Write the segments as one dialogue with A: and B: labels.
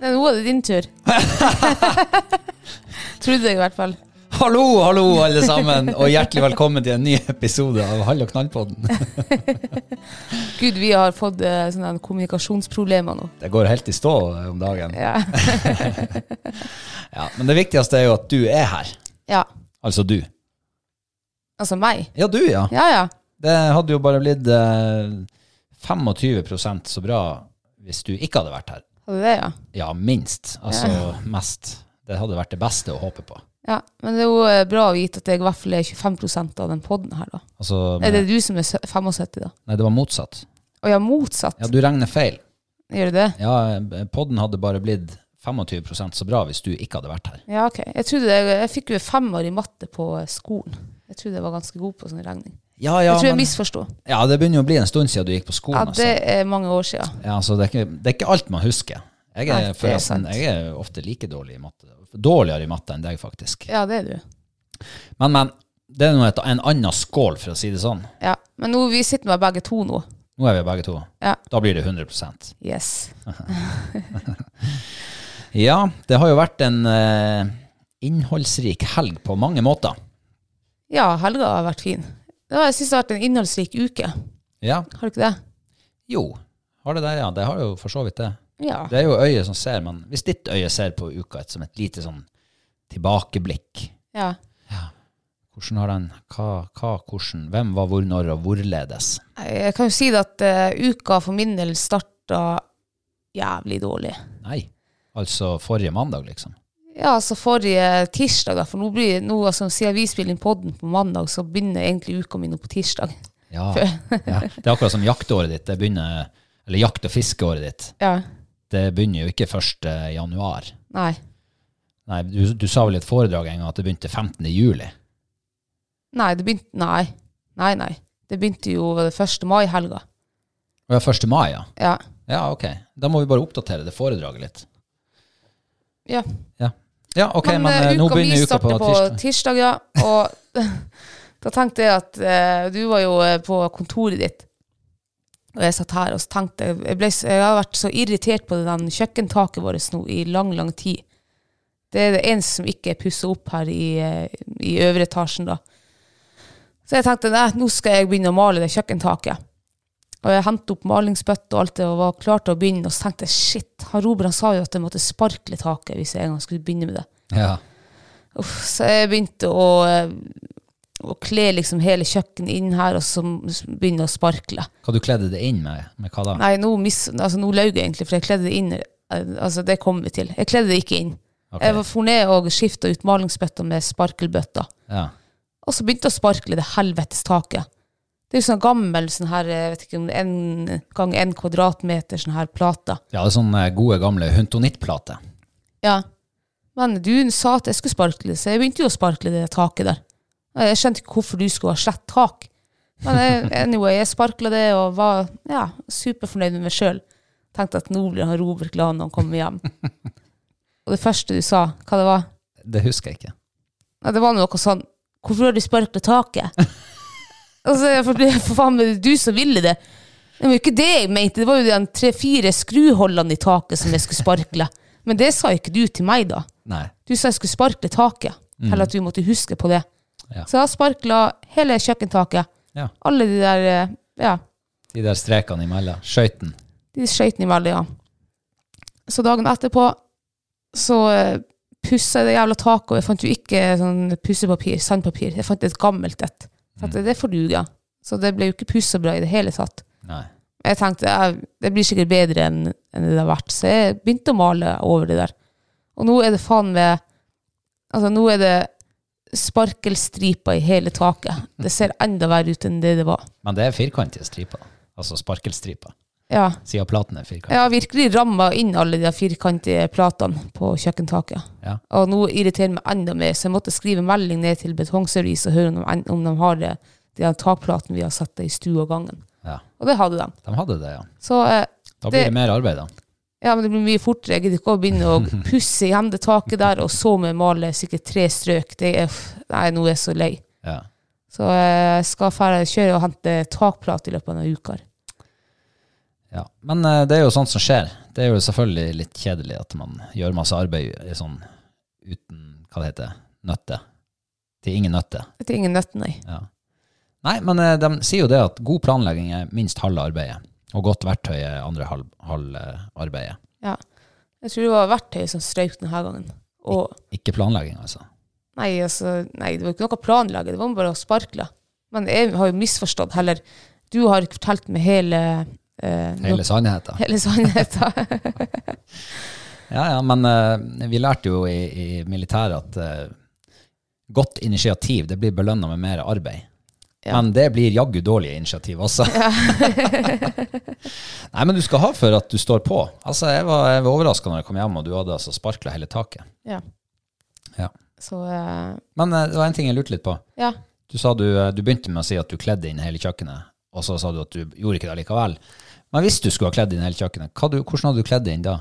A: Nei, nå var det din tur. Trodde jeg i hvert fall.
B: Hallo, hallo, alle sammen, og hjertelig velkommen til en ny episode av Hall og knall-podden.
A: Gud, vi har fått eh, sånne her kommunikasjonsproblemer nå.
B: Det går helt i stå eh, om dagen.
A: Ja.
B: Ja, men det viktigste er jo at du er her.
A: ja.
B: Altså du.
A: Altså meg.
B: Ja, du, ja.
A: Ja, ja.
B: Det hadde jo bare blitt eh, 25 så bra hvis du ikke hadde vært her.
A: Hadde det, ja.
B: Ja, minst. Altså mest. Det hadde vært det beste å håpe på.
A: ja. Men det er jo eh, bra å vite at jeg i hvert fall er 25 av den poden her, da.
B: Altså,
A: Er
B: men,
A: det du som er sø- 75, da?
B: nei, det var motsatt.
A: Å ja, motsatt.
B: Ja, du regner feil.
A: Gjør du det?
B: Ja, podden hadde bare blitt 25 så bra hvis du ikke hadde vært her.
A: Ja, ok. Jeg, trodde jeg, jeg fikk jo femmer i matte på eh, skolen. Jeg trodde jeg var ganske god på sånn regning.
B: Ja,
A: jeg
B: ja,
A: tror jeg
B: men-
A: misforsto.
B: Ja, det begynner jo å bli en stund siden du gikk på
A: Ja,
B: skolen.
A: det er mange år siden.
B: altså. ja, så det, er ikke, det er ikke alt man husker. Jeg
A: Nei,
B: er,
A: det er
B: forresten,
A: sant.
B: jeg er ofte like dårlig i matte. Dårligere i matte enn deg, faktisk.
A: Ja, det er du.
B: Men, men, det er nå et- en annen skål, for å si det sånn.
A: Ja. Men nå, vi sitter med begge to nå.
B: Nå er vi begge to.
A: Ja.
B: Da blir det 100
A: Yes.
B: Ja, det har jo vært en eh, innholdsrik helg på mange måter.
A: Ja, helga har vært fin. Ja, jeg syns det har vært en innholdsrik uke.
B: Ja,
A: Har du ikke det?
B: jo. Har det det? Ja, det har jo for så vidt det.
A: Ja.
B: Det er jo øyet som ser, men hvis ditt øye ser på uka et, som et lite sånn tilbakeblikk
A: ja.
B: Hvordan har den, hva, hva, hvordan, hvem var hvor, når og hvorledes?
A: Jeg kan jo si det at eh, uka for min del starta jævlig dårlig.
B: Nei, altså forrige mandag liksom.
A: Ja, altså forrige tirsdag, da. For nå blir nå, altså, siden vi spiller inn podden på mandag, så begynner egentlig uka mi nå på tirsdag.
B: Ja, ja. Det er akkurat som jaktåret ditt, det begynner, eller jakt- og fiskeåret ditt.
A: Ja.
B: Det begynner jo ikke 1. januar.
A: Nei.
B: Nei, du, du sa vel i et foredrag en gang at det begynte 15. juli.
A: Nei, det begynte Nei. Nei, nei. Det begynte jo var det 1. mai-helga.
B: Og ja, 1. mai, ja.
A: Ja.
B: Ja, ok. Da må vi bare oppdatere det foredraget litt.
A: ja.
B: Ja, ja ok, men,
A: eh,
B: eh, nå
A: uka mi
B: begynner uka på
A: starter
B: tirsdag.
A: tirsdag. Ja, og da tenkte jeg at eh, du var jo eh, på kontoret ditt, og jeg satt her og så tenkte jeg, jeg, ble, så- jeg har vært så irritert på det den kjøkkentaket vårt nå i lang, lang tid. Det er det eneste som ikke er pussa opp her i, eh, i øvre etasjen, da. Så jeg tenkte nei, nå skal jeg begynne å male det kjøkkentaket. Og jeg hentet opp malingsbøtte og alt det, og var klar til å begynne. Og så tenkte jeg shit, han Robert han sa jo at jeg måtte sparkle taket hvis jeg en gang skulle begynne med det.
B: Ja.
A: Uff, så jeg begynte å eh, og kle liksom hele kjøkkenet inn her, og så begynne å sparkle.
B: Hva du kledde det inn med? Med hva da?
A: Nei, nå, mis, altså, nå løy jeg egentlig, for jeg kledde det inn. eh, Altså, det kom vi til. Jeg kledde det ikke inn.
B: Ok.
A: Jeg var for ned og skifta ut malingsbøtta med sparkelbøtta.
B: Ja.
A: Og så begynte jeg å sparkle det helvetes taket. Det er jo sånn gammel sånn her, jeg vet ikke om det er en gang en kvadratmeter sånn her plate.
B: ja, det er sånne gode gamle huntonittplater.
A: Ja. Men du sa at jeg skulle sparkle, så jeg begynte jo å sparkle det taket der. Og Jeg skjønte ikke hvorfor du skulle ha slett tak. Men jeg, anyway, jeg sparkla det og var ja, superfornøyd med meg sjøl. Tenkte at nå blir han Robert glad når han kommer hjem. Og det første du sa, hva det var?
B: Det husker jeg ikke.
A: Nei, det var noe sånn Hvorfor har du sparket taket? altså, jeg for, for faen meg, det er du som ville det. Det var jo ikke det jeg mente, det var jo de tre-fire skruholdene i taket som jeg skulle sparkle. Men det sa jo ikke du til meg, da.
B: Nei.
A: Du sa jeg skulle sparkle taket, eller at vi måtte huske på det.
B: Mm. Ja.
A: Så jeg har sparkla hele kjøkkentaket.
B: Ja.
A: Alle de der eh, ja,
B: De der strekene imellom. Skøyten.
A: de skøytene imellom, ja. Så dagen etterpå så eh, pussa jeg det jævla taket, og jeg fant jo ikke sånn pussepapir, sandpapir. Jeg fant et gammelt et. Så
B: Mm.
A: tenkte jeg, det får duga. Så det ble jo ikke pussa bra i det hele tatt.
B: Nei.
A: Jeg tenkte ja, det blir sikkert bedre enn enn det det har vært, så jeg begynte å male over det der. Og nå er det faen meg Altså, nå er det sparkelstriper i hele taket. Det ser enda verre ut enn det det var.
B: Men det er firkantige striper. Altså sparkelstriper.
A: Ja.
B: Siden platen er firkant.
A: Jeg har virkelig ramma inn alle de firkantige platene på kjøkkentaket.
B: Ja.
A: Og nå irriterer meg enda mer, så jeg måtte skrive melding ned til Betongservice og høre om de, om de har det, de her takplatene vi har satt i stua og gangen.
B: Ja.
A: Og det hadde de.
B: De hadde det, ja.
A: Så eh,
B: Da blir
A: Det-
B: det, mer arbeid, da.
A: Ja, men det blir mye fortere. Jeg gidder ikke å begynne å pusse igjen det taket der, og så med male sikkert tre strøk. Det er, nei, nå er jeg så lei.
B: Ja.
A: Så eh, jeg skal fære, kjøre og hente takplate i løpet av noen uker.
B: Ja. Men eh, det er jo sånt som skjer. Det er jo selvfølgelig litt kjedelig at man gjør masse arbeid i sånn uten Hva det heter Nøtte. Til ingen nøtte.
A: Det er ingen nøtter, nei.
B: Ja. Nei, men eh, de sier jo det at god planlegging er minst halve arbeidet. Og godt verktøy er andre halv, halv eh, arbeidet.
A: Ja. Jeg tror det var verktøyet som strøk denne gangen. Og
B: Ikke planlegging, altså.
A: nei, altså, nei, det var ikke noe planlage, det var bare å sparkle. Men jeg har jo misforstått heller. Du har ikke fortalt meg hele eh,
B: Hele sannheten.
A: hele sannheten.
B: Ja, ja, men eh, vi lærte jo i, i militæret at eh, godt initiativ det blir belønna med mer arbeid.
A: Ja.
B: Men det blir jaggu dårlige initiativ også. Nei, men du skal ha for at du står på. Altså, Jeg var, jeg var overraska når jeg kom hjem og du hadde altså sparkla hele taket.
A: ja.
B: Ja.
A: Så eh,
B: Men eh, det var en ting jeg lurte litt på.
A: ja.
B: Du sa du, eh, du begynte med å si at du kledde inn hele kjøkkenet, og så sa du at du gjorde ikke det likevel. Men hvis du skulle ha kledd inn hele kjøkkenet, hva du, hvordan hadde du kledd det inn da?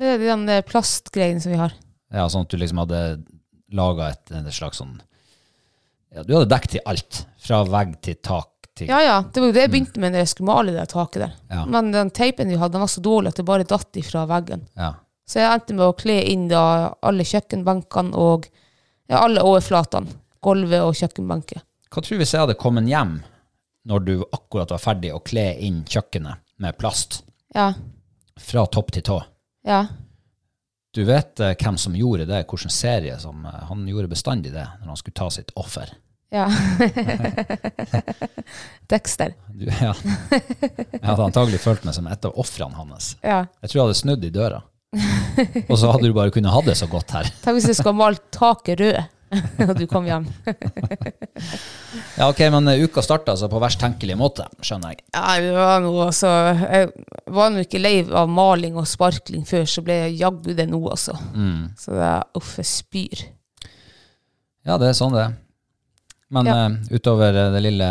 A: Det er de der plastgreiene som vi har.
B: Ja, sånn at du liksom hadde laga et, en slags sånn ja, Du hadde dekk til alt. Fra vegg til tak til
A: Ja, ja. Det var jo det jeg begynte med når jeg skulle male det der taket der.
B: Ja.
A: Men den teipen vi hadde, den var så dårlig at det bare datt ifra veggen.
B: Ja.
A: Så jeg endte med å kle inn da alle kjøkkenbenkene og ja, alle overflatene. Gulvet og kjøkkenbenken.
B: Hva tror du hvis jeg hadde kommet hjem når du akkurat var ferdig å kle inn kjøkkenet med plast
A: Ja.
B: fra topp til tå?
A: Ja.
B: Du vet eh, hvem som gjorde det, hvilken serie som eh, Han gjorde bestandig det når han skulle ta sitt offer.
A: Ja. Dexter.
B: Du, ja. Jeg hadde antagelig følt meg som et av ofrene hans.
A: Ja.
B: Jeg tror jeg hadde snudd i døra. Og så hadde du bare kunnet ha det så godt her.
A: Tenk hvis jeg skulle ha malt taket rød, og du kom hjem.
B: Ja, ok, men eh, uka starta altså på verst tenkelig måte, skjønner jeg.
A: Ja, det var noe, altså, jeg var nå ikke lei av maling og sparkling før, så ble jeg jaggu det nå, altså.
B: Mm.
A: Så det er uff, jeg spyr.
B: Ja, det er sånn det er. Men
A: Ja.
B: eh, utover eh, det lille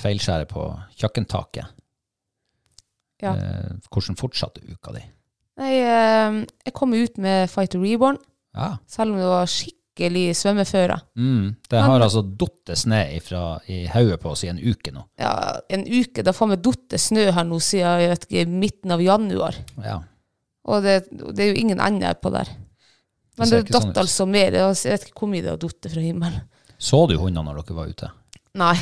B: feilskjæret på kjøkkentaket,
A: Ja.
B: eh, hvordan fortsatte uka di?
A: Nei, eh, jeg kom jo ut med Fighter Reborn,
B: Ja.
A: selv om det var skikkelig svømmeføre.
B: Mm, det
A: Men-
B: har altså datt snø ifra- i hodet på oss i en uke nå.
A: Ja, en uke, da faen meg datt det snø her nå siden jeg vet ikke, midten av januar.
B: Ja.
A: Og det, det er jo ingen ende på der. Men
B: ser
A: det,
B: ikke
A: datt
B: sånn ut.
A: altså mer. Jeg vet ikke hvor mye det har datt fra himmelen.
B: Så du hundene når dere var ute?
A: Nei.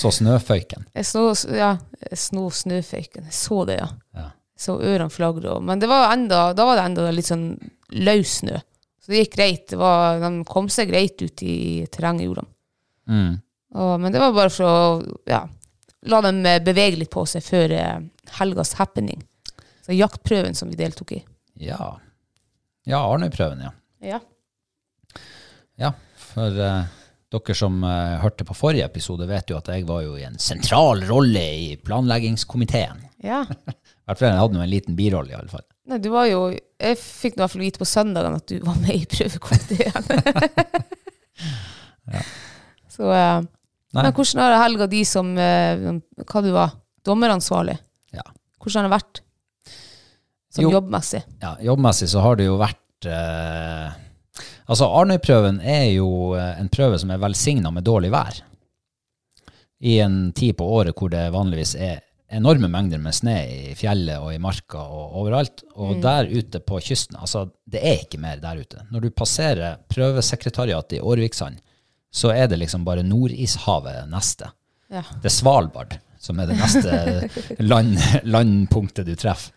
B: Så snøføyken.
A: Jeg så, ja, jeg sno snøføyken. Jeg så det, ja.
B: Ja.
A: Så ørene flagret. og- Men det var enda, da var det enda litt sånn løs snø. Så det gikk greit. Det var, de kom seg greit ut i terrenget, gjorde de.
B: Mm.
A: Og, men det var bare for å ja, la dem eh, bevege litt på seg før eh, helgas happening. Så jaktprøven som vi deltok i.
B: Ja. Ja, Arnøy-prøven, ja.
A: Ja.
B: Ja, for eh, dere som eh, hørte på forrige episode, vet jo at jeg var jo i en sentral rolle i planleggingskomiteen. I hvert fall jeg hadde nå en liten birolle, i alle fall.
A: Nei, du var jo Jeg fikk i hvert fall vite på søndagen at du var med i prøvekomiteen. Så eh,
B: Nei.
A: Men hvordan har helga di som eh, Hva du var? Dommeransvarlig?
B: Ja.
A: Hvordan har det vært? Sånn
B: Jo.
A: jobbmessig?
B: ja, jobbmessig så har det jo vært eh, Altså, Arnøy-prøven er jo eh, en prøve som er velsigna med dårlig vær. I en tid på året hvor det vanligvis er enorme mengder med snø i fjellet og i marka og overalt. Og der ute på kysten, altså, det er ikke mer der ute. Når du passerer prøvesekretariatet i Årviksand, så er det liksom bare Nordishavet neste.
A: Ja.
B: Det er Svalbard som er det neste land, landpunktet du treffer.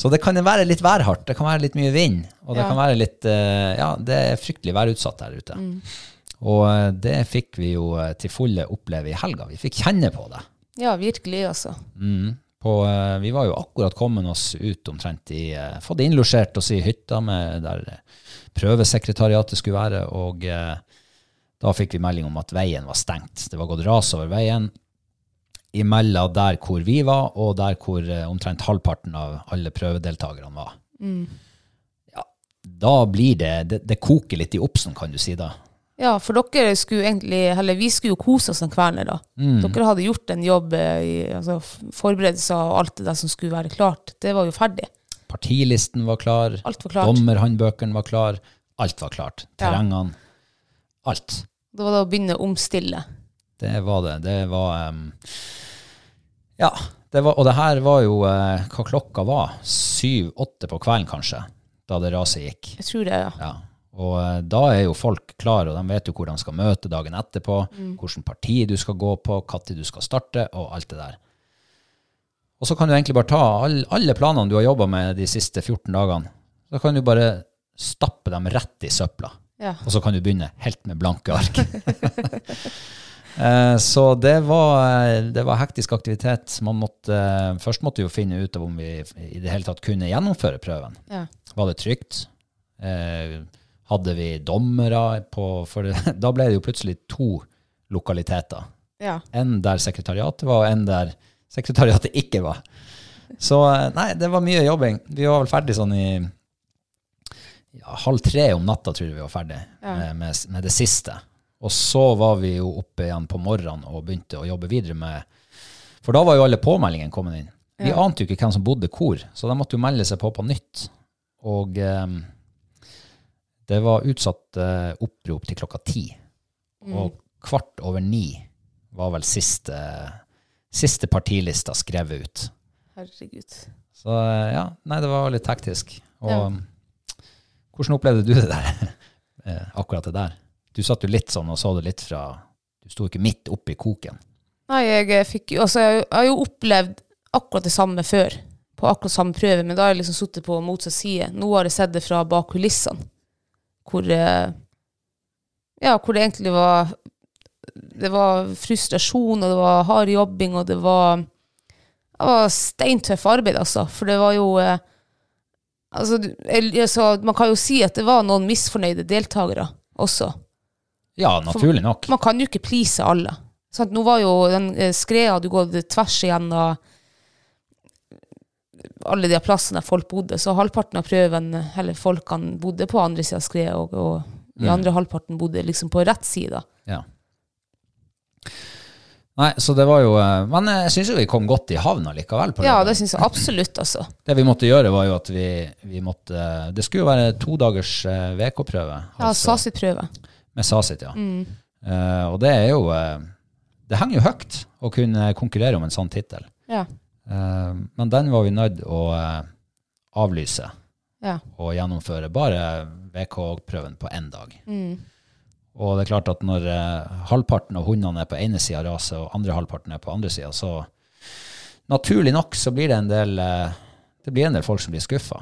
B: Så det kan være litt værhardt, det kan være litt mye vind, og det
A: Ja.
B: kan være litt eh, Ja, det er fryktelig værutsatt der ute. Og eh, det fikk vi jo eh, til fulle oppleve i helga. Vi fikk kjenne på det.
A: Ja, virkelig, altså.
B: Mm. På, eh, vi var jo akkurat kommet oss ut omtrent i eh, Fått innlosjert oss i hytta med, der eh, prøvesekretariatet skulle være, og eh, da fikk vi melding om at veien var stengt. Det var gått ras over veien imellom der hvor vi var, og der hvor eh, omtrent halvparten av alle prøvedeltakerne var. Ja, da blir det, det Det koker litt i oppsen, kan du si da.
A: Ja, for dere skulle egentlig Eller vi skulle jo kose oss den kvelden, da. Dere hadde gjort en jobb eh, i altså, f- forberedelser og alt det der som skulle være klart. Det var jo ferdig.
B: Partilisten var klar.
A: Alt var klart.
B: Dommerhåndbøkene var klar. Alt var klart.
A: Ja.
B: Terrengene. Alt.
A: Det var det å begynne å omstille.
B: Det var det. Det var em, Ja. Det var, og det her var jo eh, hva klokka var. Syv-åtte på kvelden, kanskje, da det raset gikk.
A: Jeg tror det, ja.
B: Ja. Og eh, da er jo folk klare, og de vet jo hvor de skal møte dagen etterpå, hvilket parti du skal gå på, når du skal starte, og alt det der. Og så kan du egentlig bare ta all, alle planene du har jobba med de siste 14 dagene, så kan du bare stappe dem rett i søpla.
A: Ja.
B: Og så kan du begynne helt med blanke ark. Eh, Så det var, eh, det var hektisk aktivitet. Man måtte, eh, først måtte vi jo finne ut av om vi i det hele tatt kunne gjennomføre prøven.
A: ja.
B: Var det trygt? Eh, hadde vi dommere på For det, da ble det jo plutselig to lokaliteter.
A: ja.
B: En der sekretariatet var, og en der sekretariatet ikke var. Så eh, nei, det var mye jobbing. Vi var vel ferdig sånn i ja, halv tre om natta, tror jeg vi var ferdig eh,
A: Ja.
B: med, med, med det siste. Og så var vi jo oppe igjen på morgenen og begynte å jobbe videre med For da var jo alle påmeldingene kommet inn. Vi
A: Ja.
B: ante jo ikke hvem som bodde hvor, så de måtte jo melde seg på på nytt. Og eh, det var utsatt eh, opprop til klokka ti.
A: Mm.
B: Og kvart over ni var vel siste, siste partilista skrevet ut.
A: Herregud.
B: Så eh, ja, nei, det var litt hektisk. Og
A: Ja.
B: um, hvordan opplevde du det der? Eh, Akkurat det der. Du satt jo litt sånn og så det litt fra Du sto ikke midt oppi koken.
A: Nei, jeg eh, fikk jo Altså, jeg har jo opplevd akkurat det samme før. På akkurat samme prøve, men da har jeg liksom sittet på motsatt side. Nå har jeg sett det fra bak kulissene, hvor eh, Ja, hvor det egentlig var Det var frustrasjon, og det var hard jobbing, og det var Det var steintøff arbeid, altså. For det var jo eh, Altså, du- jeg, jeg, så, man kan jo si at det var noen misfornøyde deltakere også.
B: Ja, naturlig nok.
A: Man kan jo ikke please alle. Sant? Nå var jo den eh, skreia du gått tvers igjennom alle de plassene der folk bodde, så halvparten av prøven, eh, eller folkene, bodde på andre sida av skredet, og, og
B: Mm.
A: den andre halvparten bodde liksom på rett side.
B: Ja. Nei, så det var jo eh, Men jeg syns jo vi kom godt i havn allikevel. på
A: Ja,
B: lørdag.
A: det syns jeg absolutt, altså.
B: Det vi måtte gjøre, var jo at vi, vi måtte Det skulle jo være to dagers eh, VK-prøve.
A: Ja,
B: altså
A: Sasit-prøve.
B: med Sasit, ja. Eh, og det er jo eh, Det henger jo høyt å kunne konkurrere om en sånn tittel.
A: Ja.
B: Eh, men den var vi nødt å eh, avlyse
A: Ja.
B: og gjennomføre bare VK-prøven på én dag.
A: Mm.
B: Og det er klart at når eh, halvparten av hundene er på ene sida av raset, og andre halvparten er på andre sida, så naturlig nok så blir det en del eh, det blir en del folk som blir skuffa.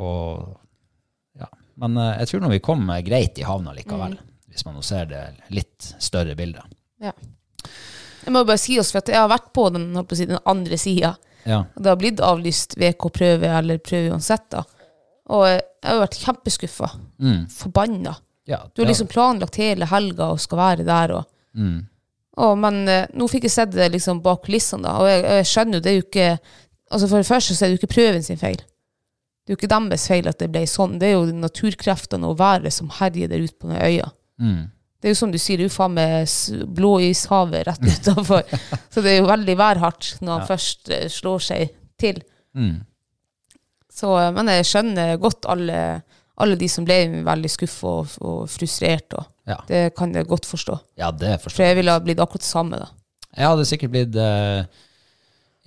B: Og ja, Men eh, jeg tror nå vi kom eh, greit i havna
A: Mm.
B: likevel, hvis man nå ser det litt større bildet.
A: Jeg må bare si oss, for at jeg har vært på den, holdt på å si, den andre sida.
B: Ja.
A: Og det har blitt avlyst VK-prøve eller prøve uansett. da. Og eh, jeg har vært kjempeskuffa.
B: Mm.
A: Forbanna.
B: Ja,
A: Du har
B: det-
A: liksom planlagt hele helga og skal være der. og...
B: mm.
A: Å, men eh, nå fikk jeg sett det liksom bak kulissene, da. Og jeg, jeg skjønner jo, det er jo ikke altså For det første så er det jo ikke prøven sin feil. Det er jo ikke deres feil at det ble sånn. Det er jo naturkreftene og været som herjer der ute på den øya.
B: Mm.
A: Det er jo som du sier, det er jo faen meg s- blå ishavet rett
B: Mm.
A: utafor. så det er jo veldig værhardt når han først eh, slår seg til.
B: Mm.
A: Så, eh, men jeg skjønner godt alle, alle de som ble veldig skuffa og, og frustrert. Og.
B: Ja.
A: Det kan jeg godt forstå.
B: ja, det forstår
A: For
B: jeg.
A: jeg ville ha blitt akkurat det samme, da.
B: Jeg hadde sikkert blitt eh,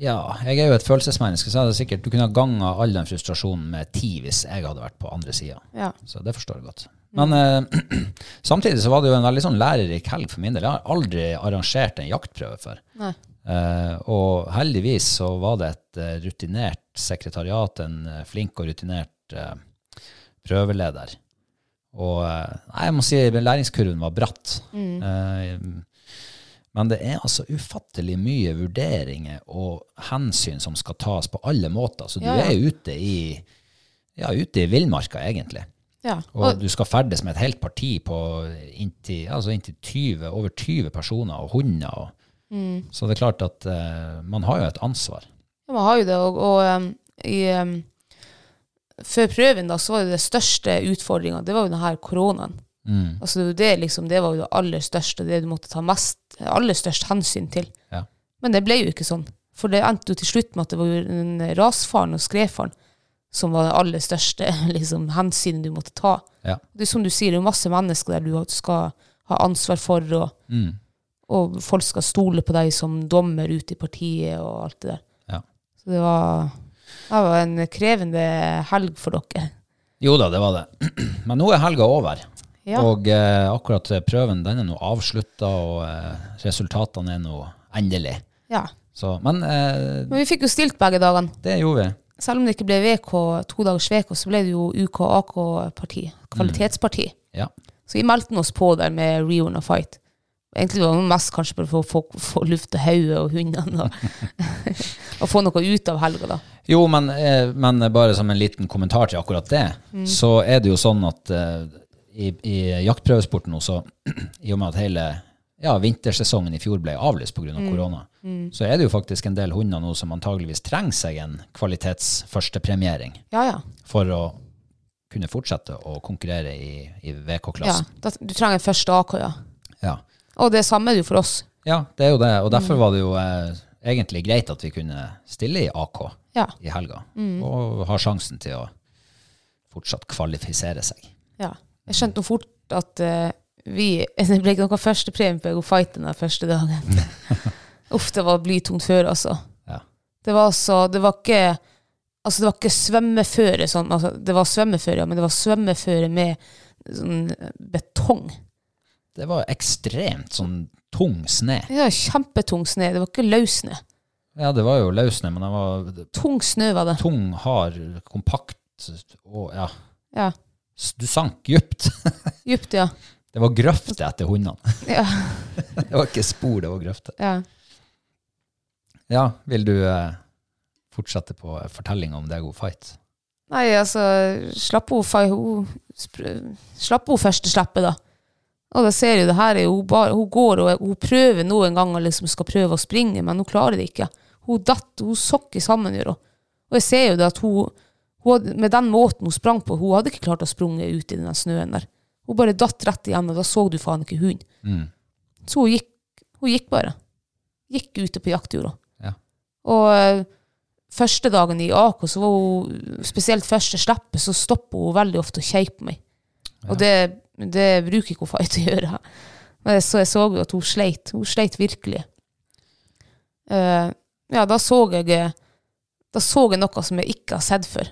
B: Ja, jeg er jo et følelsesmenneske, så jeg hadde sikkert, du kunne ha ganga all den frustrasjonen med ti hvis jeg hadde vært på andre sida.
A: Ja.
B: Så det forstår jeg godt. Men eh, samtidig så var det jo en veldig sånn lærerik helg for min del. Jeg har aldri arrangert en jaktprøve før.
A: Nei.
B: Eh, og heldigvis så var det et eh, rutinert sekretariat, en eh, flink og rutinert eh, prøveleder. Og eh, nei, jeg må si læringskurven var bratt.
A: Mm.
B: Eh, men det er altså ufattelig mye vurderinger og hensyn som skal tas på alle måter. Så du
A: Ja, ja.
B: er ute i, ja, ute i villmarka, egentlig.
A: Ja.
B: Og du skal ferdes med et helt parti på inntil, altså inntil 20, over 20 personer og hunder. Og, Så det er klart at eh, man har jo et ansvar.
A: Ja, man har jo det, og, og um, i, um, før prøven da, så var jo det største utfordringa, det var jo denne koronaen.
B: Mm.
A: Altså det, var jo det, liksom, det var jo det aller største, det du måtte ta mest, aller størst hensyn til.
B: Ja.
A: Men det ble jo ikke sånn. For det endte jo til slutt med at det var jo den rasfaren og skredfaren som var det aller største liksom, hensynet du måtte ta.
B: Ja.
A: Det er som du sier, det er jo masse mennesker der du skal ha ansvar for, og,
B: Mm.
A: og folk skal stole på deg som dommer ute i partiet og alt det der.
B: Ja.
A: Så det var, det var en krevende helg for dere.
B: Jo da, det var det. Men nå er helga over.
A: Ja.
B: Og eh, akkurat prøven den er nå avslutta, og eh, resultatene er nå endelig.
A: Ja.
B: Så, men eh,
A: Men vi fikk jo stilt begge dagene.
B: det gjorde vi.
A: Selv om det ikke ble VK, to dagers VK, så ble det jo UK og AK-parti. Kvalitetsparti.
B: Ja.
A: Så vi meldte oss på der med Reon og Fight. Egentlig var det mest kanskje bare for å få, få luft til hodet og hundene, og, og få noe ut av helga, da.
B: Jo, men, eh, men bare som en liten kommentar til akkurat det, så er det jo sånn at eh, i, i jaktprøvesporten nå, så i og med at hele ja, vintersesongen i fjor ble avlyst pga. av korona, så er det jo faktisk en del hunder nå som antageligvis trenger seg en kvalitets førstepremiering
A: Ja, ja.
B: for å kunne fortsette å konkurrere i, i
A: ja.
B: VK-klassen.
A: Da, du trenger en første AK, ja.
B: Ja.
A: Og det samme er det jo for oss.
B: ja, det er jo det. Og derfor var det jo eh, egentlig greit at vi kunne stille i AK.
A: Ja.
B: i helga, og har sjansen til å fortsatt kvalifisere seg.
A: Ja. Jeg skjønte jo fort at eh, vi Det ble ikke noe førstepremie på Ego Fight den der første dagen. Uff, det var blytungt føre, altså.
B: Ja.
A: Det var altså Det var ikke Altså, det var ikke svømmeføre sånn. Altså, det var svømmeføre, ja, men det var svømmeføre med sånn betong.
B: Det var ekstremt sånn tung sne.
A: Det var kjempetung snø. Det var ikke løs snø.
B: Ja, det var jo løs sne, men den var
A: Tung snø var det.
B: tung, hard, kompakt og ja,
A: Ja.
B: s- du sank dypt.
A: Djupt, ja.
B: Det var grøfte etter hundene.
A: Ja.
B: Det var ikke spor, det var grøfte.
A: ja.
B: Ja, vil du eh, fortsette på fortellinga om det er god fight?
A: Nei, altså, slapp hun, fa- hun spr- slapp hun første slippet, da. Og da ser du, det her er jo hun bare, hun går og hun prøver noen ganger liksom skal prøve å springe, men hun klarer det ikke. Hun datt, hun sokker sammen, gjør hun. Og jeg ser jo det at hun, hun hadde, med den måten hun sprang på, hun hadde ikke klart å sprunge ut i den der snøen der. Hun bare datt rett igjen, og da så du faen ikke hun.
B: Mm.
A: Så hun gikk, hun gikk bare. Gikk ute på jaktjorda.
B: Ja.
A: Og eh, første dagen i AK, så var hun, spesielt første slippet, så stopper hun veldig ofte og kjeiper på meg. Og det, det bruker ikke hun fight å gjøre. Men jeg så, jeg så jo at hun sleit. Hun sleit virkelig. Eh, ja, da så jeg eh, da så jeg noe som jeg ikke har sett før.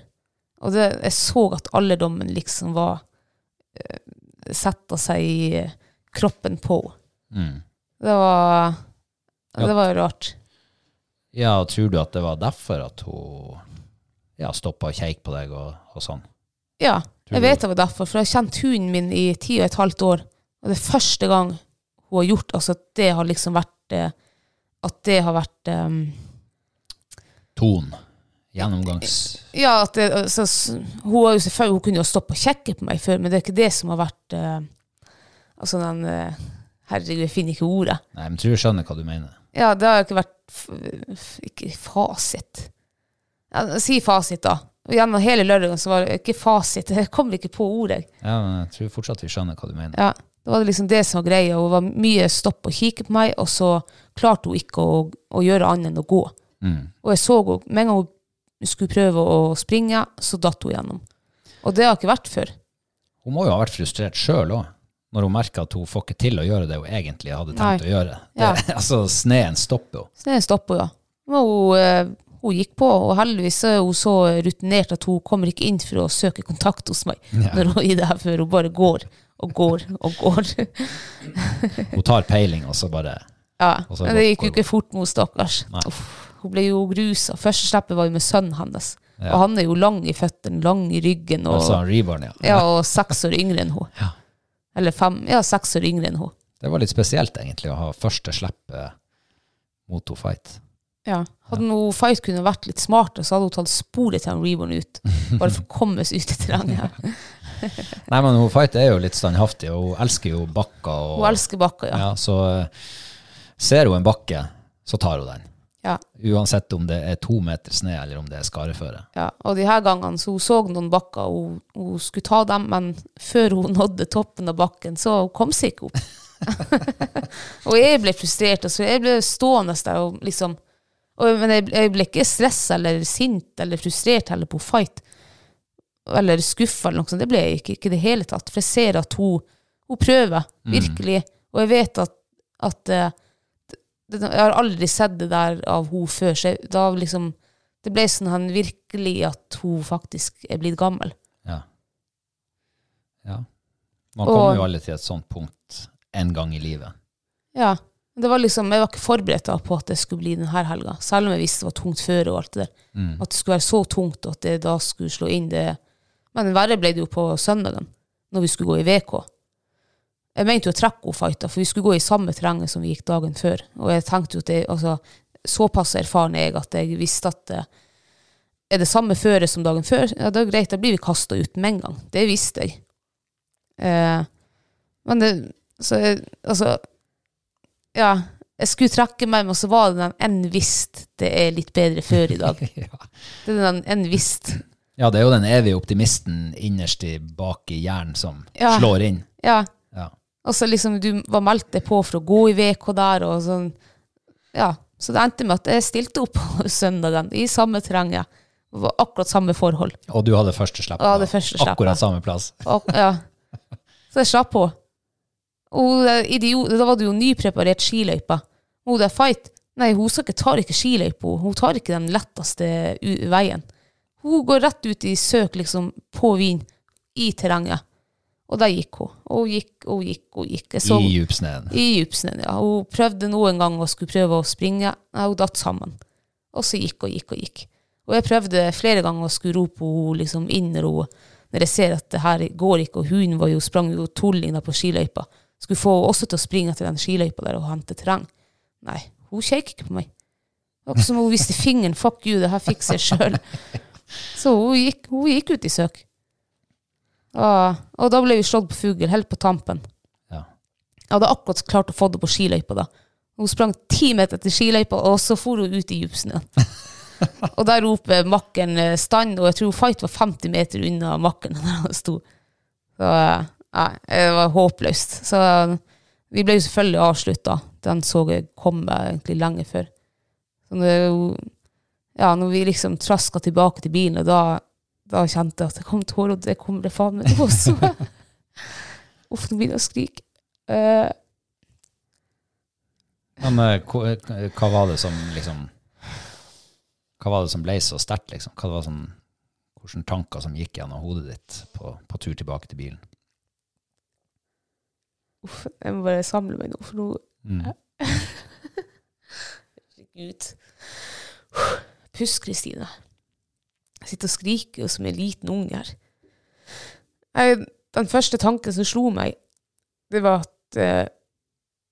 A: Og det, jeg så at alderdommen liksom var eh, setta seg i eh, kroppen på henne.
B: Mm.
A: Det var
B: Ja.
A: Det var jo rart.
B: Ja, og tror du at det var derfor at hun ja, stoppa og kjeik på deg og, og sånn?
A: Ja,
B: Tror
A: jeg
B: du-
A: vet det var derfor, for jeg har kjent hunden min i ti og et halvt år. Og det er første gang hun har gjort altså, at det har liksom vært eh, At det har vært eh,
B: Ton. Gjennomgangs...
A: Ja, at det, altså, s- hun, har jo selvfølgelig, hun kunne jo stått og kjekke på meg før, men det er ikke det som har vært eh, Altså den eh, Herregud, jeg finner ikke ordet.
B: Nei, men jeg tror jeg skjønner hva du mener.
A: Ja, det har jo ikke vært f- f- Ikke fasit. Ja, si fasit, da. Og Gjennom hele lørdagen så var det ikke fasit. Jeg kom ikke på ordet.
B: Ja, men jeg tror fortsatt vi skjønner hva du mener.
A: Ja, det var liksom det som var greia. Hun var mye stopp og kikke på meg, og så klarte hun ikke å, å gjøre annet enn å gå.
B: Mm.
A: Og jeg så henne, med en gang hun skulle prøve å springe, så datt hun gjennom. Og det har ikke vært før.
B: Hun må jo ha vært frustrert sjøl òg, når hun merker at hun får ikke til å gjøre det hun egentlig hadde tenkt
A: Nei.
B: å gjøre. Det,
A: Ja.
B: altså, sneen stopper jo.
A: Så det stoppa hun, ja. Men hun, eh, hun gikk på, og heldigvis er hun så rutinert at hun kommer ikke inn for å søke kontakt hos meg når hun er i det her før. Hun bare går og går og går.
B: Hun tar peiling, og så bare
A: Ja,
B: Og så
A: men det
B: går-
A: gikk jo
B: går-
A: ikke fort med henne, stakkars.
B: Nei.
A: Uff, hun ble jo grusa. Første slippet var jo med sønnen hans.
B: Ja.
A: Og han er jo lang i føttene, lang i ryggen, og,
B: Altså, reborn, ja.
A: ja, og seks år yngre enn hun.
B: Ja.
A: Eller fem, ja, seks år yngre enn hun.
B: Det var litt spesielt, egentlig, å ha første slipp eh, mot to fight.
A: Hadde noe Fight kunne vært litt smartere, så hadde hun tatt sporet til han Reborn ut. Bare for å komme seg ut i terrenget.
B: Nei, men hun fight er jo litt standhaftig, og hun elsker jo bakker. Og,
A: Hun elsker bakker, ja.
B: ja, så eh, ser hun en bakke, så tar hun den.
A: Ja.
B: Uansett om det er to meter snø, eller om det er skareføre.
A: Ja, og de her gangene så hun så noen bakker, hun, hun skulle ta dem, men før hun nådde toppen av bakken, så hun kom seg ikke opp. og jeg ble frustrert, og så jeg ble stående der og liksom og, Men jeg, jeg ble ikke stressa eller sint eller frustrert heller på fight, eller skuffa eller noe sånt. Det ble jeg ikke ikke i det hele tatt, for jeg ser at hun, hun prøver, virkelig. Og jeg vet at, at eh, det, Jeg har aldri sett det der av hun før, så jeg, da liksom det ble sånn han virkelig at hun faktisk er blitt gammel.
B: Ja. ja. Man
A: Og-
B: kommer jo alle til et sånt punkt en gang i livet.
A: Ja. Det var liksom, Jeg var ikke forberedt da på at det skulle bli denne helga, selv om jeg visste det var tungt før. og alt det der. At det skulle være så tungt og at det da skulle slå inn det. Men verre ble det jo på søndagen, når vi skulle gå i VK. Jeg mente jo å trekke henne fighta, for vi skulle gå i samme terrenget som vi gikk dagen før. Og jeg tenkte jo at det, altså, såpass erfaren er jeg at jeg visste at det, er det samme føre som dagen før, ja, da er det greit, da blir vi kasta ut med en gang. Det visste jeg. Eh, men det, så jeg, altså, ja, jeg skulle trekke meg, men så var det den en visst det er litt bedre før i dag.
B: ja.
A: Det er den en visst.
B: ja, det er jo den evige optimisten innerst i bak i hjernen som
A: Ja.
B: slår inn.
A: Ja,
B: Ja.
A: og så liksom du var meldt deg på for å gå i VK der og sånn. Ja, så det endte med at jeg stilte opp på søndagen i samme terrenget. Det var Akkurat samme forhold.
B: Og du hadde første slipp
A: Jeg hadde første slipp, ja.
B: akkurat samme plass.
A: Og, ja. Så jeg slapp på. Og det idiot, da var det jo nypreparert skiløype. Hun der fight, nei, hun skal ikke, tar ikke skiløypa. hun. Hun tar ikke den letteste u- veien. Hun går rett ut i søk, liksom, på Wien, i terrenget. Og der gikk hun. Og hun gikk, og hun gikk, og hun gikk. Jeg så-
B: I djupsneen.
A: i djupsnøen, ja. Hun prøvde noen gang å skulle prøve å springe. Nei, hun datt sammen. Og så gikk og gikk og gikk. Og jeg prøvde flere ganger å skulle rope henne liksom inn når hun når jeg ser at det her går ikke, og hunden var jo sprang jo tulling da på skiløypa. Skulle få henne også til å springe til den skiløypa der og hente terreng. Nei, hun kjekk ikke på meg. Det var ikke som om hun viste fingeren, fuck you, det her fikser jeg sjøl. Så hun gikk, hun gikk ut i søk. Og, og da ble vi slått på fugl, helt på tampen.
B: Ja.
A: Jeg hadde akkurat klart å få det på skiløypa da. Hun sprang ti meter til skiløypa, og så for hun ut i djupsnøen. og der roper makkeren eh, stand, og jeg tror Fight var 50 meter unna makkeren der han sto. Så eh, nei, det var håpløst. Så eh, vi ble jo selvfølgelig avslutta. Den så jeg komme egentlig lenge før. Så når, hun- ja, når vi liksom traska tilbake til bilen, og da, da kjente jeg at det kom tårer, og det kommer det faen meg nå også. Uff, nå begynner jeg å skrike. Eh,
B: Men eh, ko- eh, hva var det som liksom Hva var det som ble så sterkt, liksom? Hva var sånn, hvilke tanker som gikk gjennom hodet ditt på, på tur tilbake til bilen?
A: Uff, jeg må bare samle meg nå, for nå
B: Mm.
A: Herregud. Puss, Kristine. Jeg sitter og skriker jo som en liten unge her. Jeg, den første tanken som slo meg, det var at eh,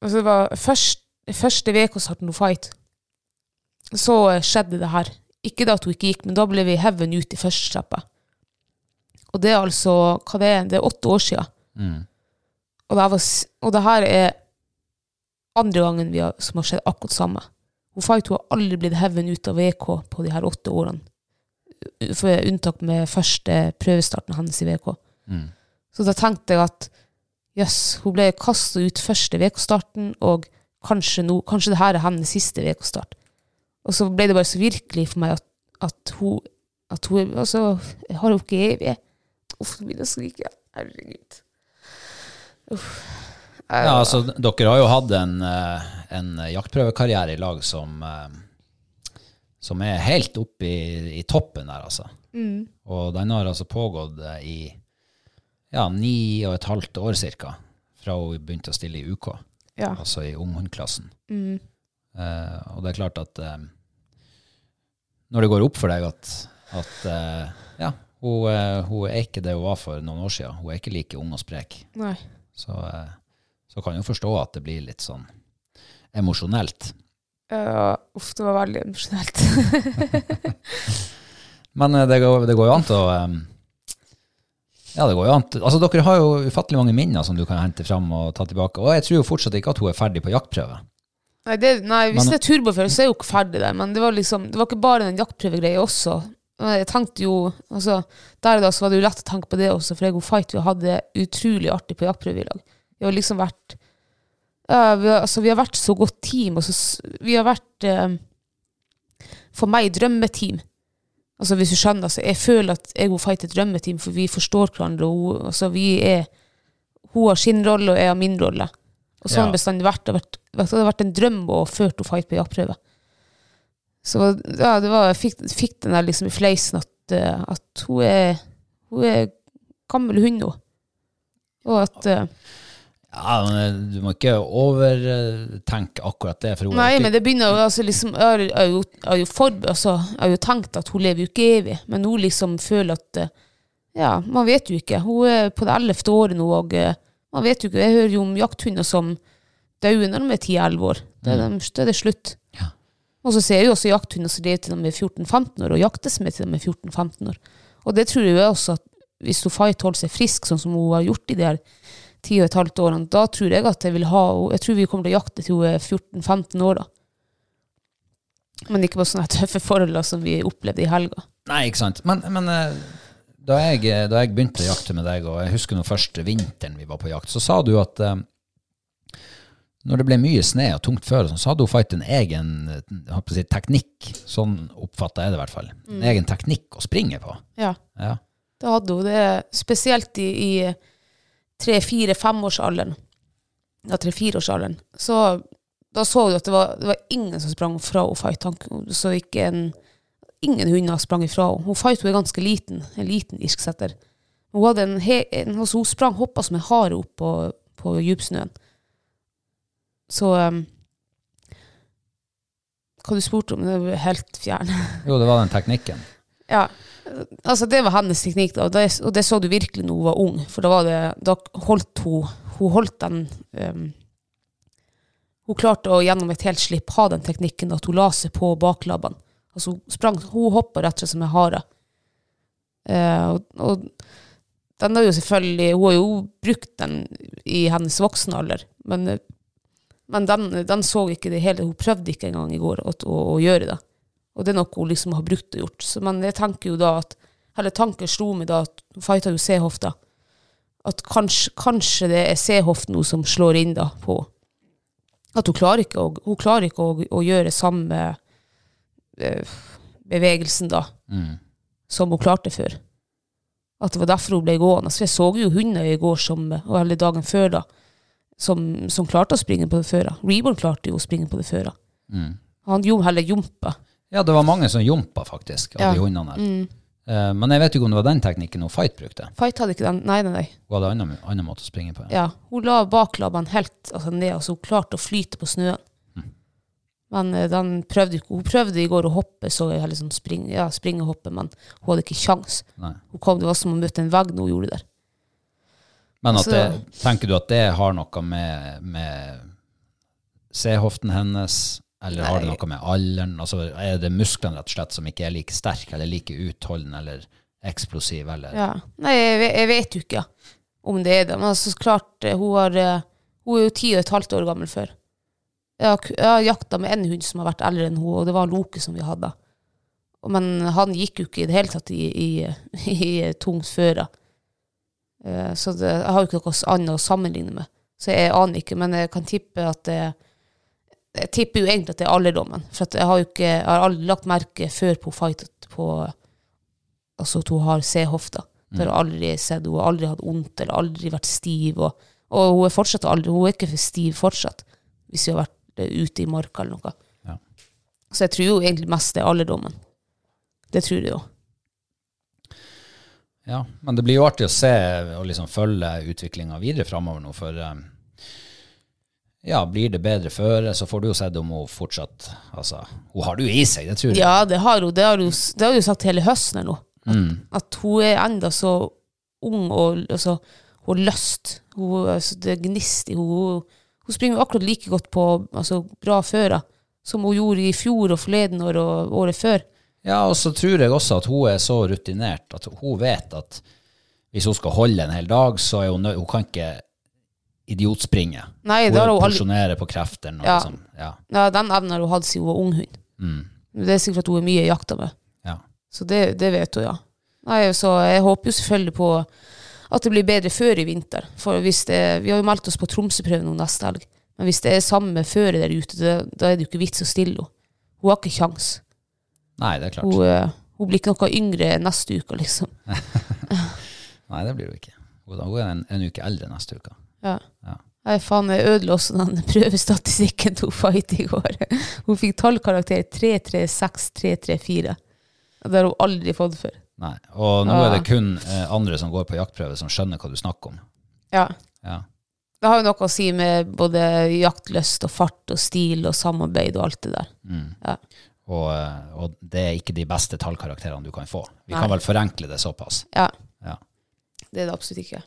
A: altså det var først, første uka starten hun fight, så eh, skjedde det her. Ikke da at hun ikke gikk, men da ble vi heaven ut i første trappa. Og det er altså hva det er, det er åtte år siden.
B: Mm.
A: Og det, her var, s- og det her er andre gangen vi har, som har skjedd akkurat samme. Hun fight hun har aldri blitt heaven ut av VK på de her åtte årene. U- For unntak med første prøvestarten hennes i VK.
B: Mm.
A: Så da tenkte jeg at jøss, hun ble kasta ut første VK-starten, og kanskje, nå- kanskje det her er hennes siste VK-start. Og så ble det bare så virkelig for meg at, at hun at hun, altså, jeg har jo ikke evig. Uff, nå begynner jeg å skrike. Herregud. Uff. Jeg-
B: Ja, altså, dere har jo hatt en, eh, en jaktprøvekarriere i lag som, eh, som er helt oppe i, i toppen der, altså. Og den har altså pågått eh, i ja, ni og et halvt år cirka, fra hun begynte å stille i UK,
A: ja.
B: altså i unghundklassen.
A: Mm.
B: Eh, og det er klart at eh, når det går opp for deg at, at eh, ja, hun, eh, hun er ikke det hun var for noen år siden, hun er ikke like ung og sprek,
A: Nei.
B: så, eh, så kan jeg jo forstå at det blir litt sånn emosjonelt.
A: Ja, Eh, uff, det var veldig emosjonelt.
B: Men eh, det går, det går jo an til å eh, Ja, det går jo an til Altså, dere har jo ufattelig mange minner som du kan hente fram og ta tilbake. Og jeg tror jo fortsatt ikke at hun er ferdig på jaktprøve.
A: nei, det, nei, hvis
B: Men-
A: det er turbofører, så er jeg jo ikke ferdig der. Men det var liksom, det var ikke bare den jaktprøvegreia også. Og Jeg tenkte jo, altså, Der og da så var det jo lett å tenke på det også, for jeg og Fight vi hadde det utrolig artig på jaktprøve i lag. Vi har liksom vært ja, vi, har, altså, vi har vært så godt team. Og så, s- vi har vært eh, For meg drømmeteam. Altså Hvis du skjønner, altså, jeg føler at jeg og Fight er et drømmeteam, for vi forstår hverandre. Og, hun- altså, vi er, hun har sin rolle, og jeg har min rolle. Og sånn
B: Ja.
A: har bestandig vært. Det har vært, det har vært en drøm å føre til Fight på jaktprøve. Så ja, det var, jeg fikk, fikk den der liksom i fleisen at, eh, at hun er Hun er gammel hund nå. Og at eh,
B: Ja, men eh, du må ikke overtenke akkurat det. For hun er
A: Nei,
B: ikke-
A: men det begynner jo altså, liksom, jeg, har- jeg, har jo- jeg, har jo forb- altså, jeg har jo tenkt at hun lever jo ikke evig, men hun liksom føler at eh, Ja, man vet jo ikke. Hun er på det ellevte året nå, og eh, man vet jo ikke. Jeg hører jo om jakthunder som dør når de er 10-11 år. Da er, de, da er det slutt.
B: Ja.
A: Og så ser jeg jo også jakthunder som lever til de er 14-15 år, og jaktes med til de er 14-15 år. Og det tror jeg også at hvis hun Fight holder seg frisk, sånn som hun har gjort i de her ti og et halvt årene, da tror jeg at jeg vil ha henne Jeg tror vi kommer til å jakte til hun er 14-15 år, da. Men ikke på sånne tøffe forhold da, som vi opplevde i helga.
B: Nei, ikke sant. Men, men eh, da, jeg, eh, da jeg begynte å jakte med deg, og jeg husker nå første vinteren vi var på jakt, så sa du at eh, når det ble mye sne og tungt føre, og sånn, så hadde hun fight en egen eh, jeg holdt på å si, teknikk. Sånn oppfatta jeg det i hvert fall. En egen teknikk å springe på.
A: Ja.
B: Ja.
A: Da hadde hun det, spesielt i, i tre-fire-femårsalderen. Ja, tre-fireårsalderen. Så da så du at det var, det var ingen som sprang fra henne fight. Han- Så ikke en, ingen hunder sprang ifra henne. Hun fight hun er ganske liten, en liten irsksetter. Hun, hadde en he, en, altså hun sprang hoppa som en hare opp på, på djupsnøen. Så um, Hva du spurte om, det var helt fjern.
B: Jo, det var den teknikken.
A: Ja, altså det var hennes teknikk, da, og det, og det så du virkelig når hun var ung. For da, var det, da holdt hun Hun holdt den ehm, Hun klarte å gjennom et helt slipp ha den teknikken at hun la seg på baklabbene. Altså hun sprang Hun hoppa rett og slett som en hare. Eh, og, og den er jo selvfølgelig Hun har jo brukt den i hennes voksne alder, men, men den, den så ikke det hele. Hun prøvde ikke engang i går at, å, å gjøre det. Og det er noe hun liksom har brukt og gjort. Så, men jeg tenker jo da at Eller tanken slo meg da at hun fighta jo C-hofta. At kanskje, kanskje det er C-hoften hun som slår inn da på At hun klarer ikke å, hun klarer ikke å, å gjøre samme eh, bevegelsen da
B: Mm.
A: som hun klarte før. At det var derfor hun ble gående. Så jeg så jo hunder i går, som, og hele dagen før da, som, som klarte å springe på det føra. Reborn klarte jo å springe på det føra.
B: Mm.
A: Han gjorde heller jumpa.
B: Ja, det var mange som jompa, faktisk, av
A: Ja.
B: de hundene der. Eh, men jeg vet ikke om det var den teknikken hun fight brukte.
A: Fight hadde ikke den. Nei, nei, nei.
B: Hun hadde annen, annen måte å springe på.
A: altså, Ja, hun la baklabbene helt altså, ned, og så hun klarte å flyte på snøen. Men eh, den prøvde, ikke- hun prøvde i går å hoppe, så jeg heller sånn spring, ja, springe og hoppe, men hun hadde ikke sjans.
B: Nei.
A: Hun kom, det var som å møte en vegg når hun gjorde det der.
B: Men at
A: Så-
B: det, tenker du at det har noe med, med C-hoften hennes, eller har det
A: Nei.
B: noe med alderen? Altså, er det musklene rett og slett som ikke er like sterke, eller like utholdende, eller eksplosive, eller
A: Ja. Nei, jeg, ve- jeg vet jo ikke om det er det. Men altså, så klart, eh, hun, har, eh, hun er jo ti og et halvt år gammel før. Jeg har, ku- jeg har jakta med en hund som har vært eldre enn hun, og det var Loke som vi hadde. Og- Men han gikk jo ikke i det hele tatt i, i, i tungt føre. Eh, Så det, jeg har jo ikke noe annet å sammenligne med. Så jeg aner ikke, men jeg kan tippe at det jeg tipper jo egentlig at det er alderdommen, for at jeg har jo ikke, jeg har aldri lagt merke før på fight at på altså at hun har C-hofta. Det har jeg aldri sett. Hun har aldri hatt vondt eller aldri vært stiv. Og, og hun er fortsatt aldri, hun er ikke for stiv fortsatt, hvis vi har vært eh, ute i marka eller noe.
B: Ja.
A: Så jeg tror jo egentlig mest det er alderdommen. Det tror jeg jo.
B: Ja, men det blir jo artig å se og liksom følge utviklinga videre framover nå, for eh, ja, blir det bedre føre, så får du jo sett om hun fortsatt Altså, hun har det jo i seg, det tror jeg.
A: Ja, det har hun. Det har hun, s- det har hun jo sagt hele høsten her nå. At, at hun er enda så ung og altså, hun har lyst. Hun, altså, det er gnist i henne. Hun springer jo akkurat like godt på altså, bra fører som hun gjorde i fjor og forleden år og året før.
B: Ja, og så tror jeg også at hun er så rutinert at hun vet at hvis hun skal holde en hel dag, så er hun nødt Hun kan ikke idiotspringe.
A: Nei,
B: hun
A: det har hun aldri-
B: porsjonerer på kreftene. og
A: Ja.
B: Liksom. Ja,
A: Ja, den evnen har hun hatt siden hun var ung hund. Men Det er sikkert at hun er mye jakta med.
B: ja.
A: Så det, det vet hun, ja. Nei, så jeg håper jo selvfølgelig på at det blir bedre før i vinter. For hvis det, vi har jo meldt oss på Tromsø-prøven nå neste helg. Men hvis det er samme føre der ute, det, da er det jo ikke vits å stille henne. Hun har ikke kjangs.
B: Nei, det er klart.
A: Hun, eh, hun blir ikke noe yngre neste uke, liksom.
B: Nei, det blir hun ikke. Hun hun er en, en uke eldre neste uke.
A: Ja.
B: Ja.
A: Nei, faen, jeg ødela også den prøvestatistikken til Fight i går. Hun fikk tallkarakter 336-334. Det har hun aldri fått før.
B: Nei. Og nå
A: Ja.
B: er det kun eh, andre som går på jaktprøve, som skjønner hva du snakker om.
A: Ja.
B: Ja.
A: Det har jo noe å si med både jaktlyst og fart og stil og samarbeid og alt det der. Ja.
B: Mm. Og, eh, og det er ikke de beste tallkarakterene du kan få. Vi
A: Nei.
B: kan vel forenkle det såpass.
A: ja.
B: Ja.
A: Det er det absolutt ikke.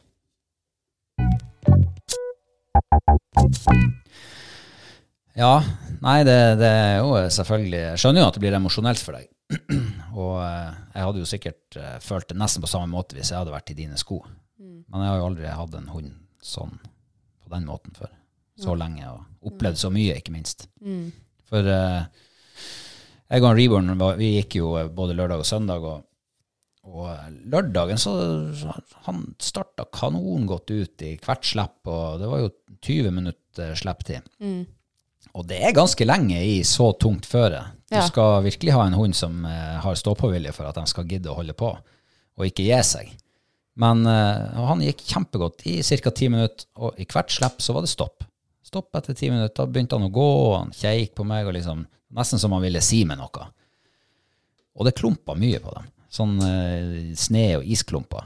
B: Ja, nei, det, det er jo eh, selvfølgelig Jeg skjønner jo at det blir emosjonelt for deg. Og eh, jeg hadde jo sikkert eh, følt det nesten på samme måte hvis jeg hadde vært i dine sko. Men jeg har jo aldri hatt en hund sånn på den måten før. Så lenge, og opplevd så mye, ikke minst. For eh, jeg og Reborn var- vi gikk jo eh, både lørdag og søndag, og, og eh, lørdagen så han starta kanongodt ut i hvert slipp, og det var jo 20 minutter slipptid.
A: Mm.
B: Og det er ganske lenge i så tungt føre. Du
A: Ja.
B: skal virkelig ha en hund som eh, har ståpåvilje for at den skal gidde å holde på, og ikke gi seg. Men eh, han gikk kjempegodt i ca. ti minutter, og i hvert slipp så var det stopp. Stopp etter ti minutter. Da begynte han å gå, og han kjeik på meg, og liksom, nesten som han ville si meg noe. Og det klumpa mye på dem. Sånn eh, sne- og isklumper.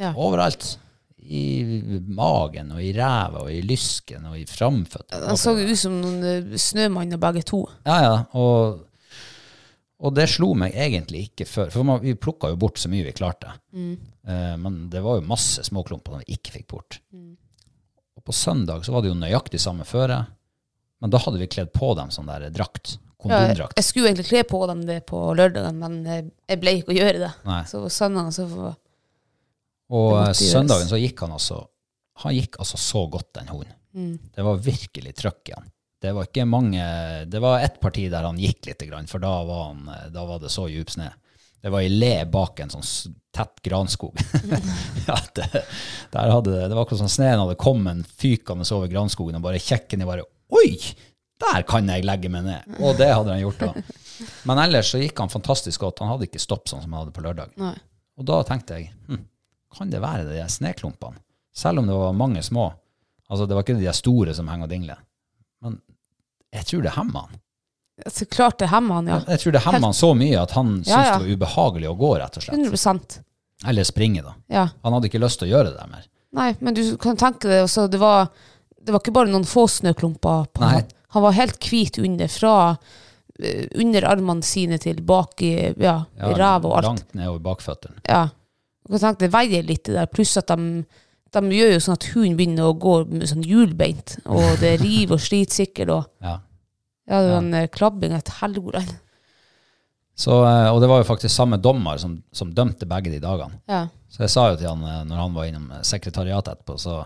A: Ja.
B: Overalt. I magen og i ræva og i lysken og i framføttene.
A: Han så jo ut som noen eh, snømanner begge to.
B: Ja, ja. Og, og det slo meg egentlig ikke før. For man, vi plukka jo bort så mye vi klarte.
A: Mm.
B: Eh, men det var jo masse småklumper som vi ikke fikk bort.
A: Mm.
B: Og på søndag så var det jo nøyaktig samme føre, men da hadde vi kledd på dem sånn der drakt.
A: Ja, jeg,
B: Kondomdrakt.
A: jeg skulle jo egentlig kle på dem det på lørdagen, men eh, jeg ble ikke å gjøre det.
B: Nei.
A: Så søndagen så var-
B: Og
A: Det måtte
B: eh,
A: gjøres.
B: søndagen så gikk han altså Han gikk altså så godt, den hunden.
A: mm.
B: Det var virkelig trøkk i han. Det var ikke mange Det var ett parti der han gikk lite grann, for da var, han, eh, da var det så djup snø. Det var ei le bak en sånn s- tett granskog. ja, det, der hadde, det var akkurat som sneen hadde kommet fykende over granskogen og bare kjekken i bare Oi! Der kan jeg legge meg ned! Og det hadde han gjort da. Men ellers så gikk han fantastisk godt. Han hadde ikke stopp sånn som han hadde på lørdag.
A: Nei.
B: Og da tenkte jeg, hm, kan det være de der sneklumpene? Selv om det var mange små. Altså, det var ikke de der store som henger og dingler. Men jeg tror det hemmer han.
A: Så klart det hemmer han, ja.
B: Jeg tror det hemmer han så mye at han syntes
A: Ja, ja.
B: det var ubehagelig å gå, rett og slett.
A: 100
B: Eller springe, da.
A: Ja.
B: Han hadde ikke lyst til å gjøre det der mer.
A: Nei, men du kan tenke deg, altså, det, var, det var ikke bare noen få snøklumper. På
B: Nei.
A: han. Han var helt hvit under, fra eh, under armene sine til bak i ja,
B: Ja,
A: ræva og alt.
B: Langt nedover bakføttene.
A: Ja. Du kan tenke det veier litt det der, pluss at de, de gjør jo sånn at hunden begynner å gå med sånn hjulbeint, og det river og sliter sikkert, og
B: Ja.
A: ja, det
B: Ja.
A: var en eh, klabbing et helvete.
B: Så, eh, og det var jo faktisk samme dommer som, som dømte begge de dagene.
A: Ja.
B: Så jeg sa jo til han eh, når han var innom eh, sekretariatet etterpå, så,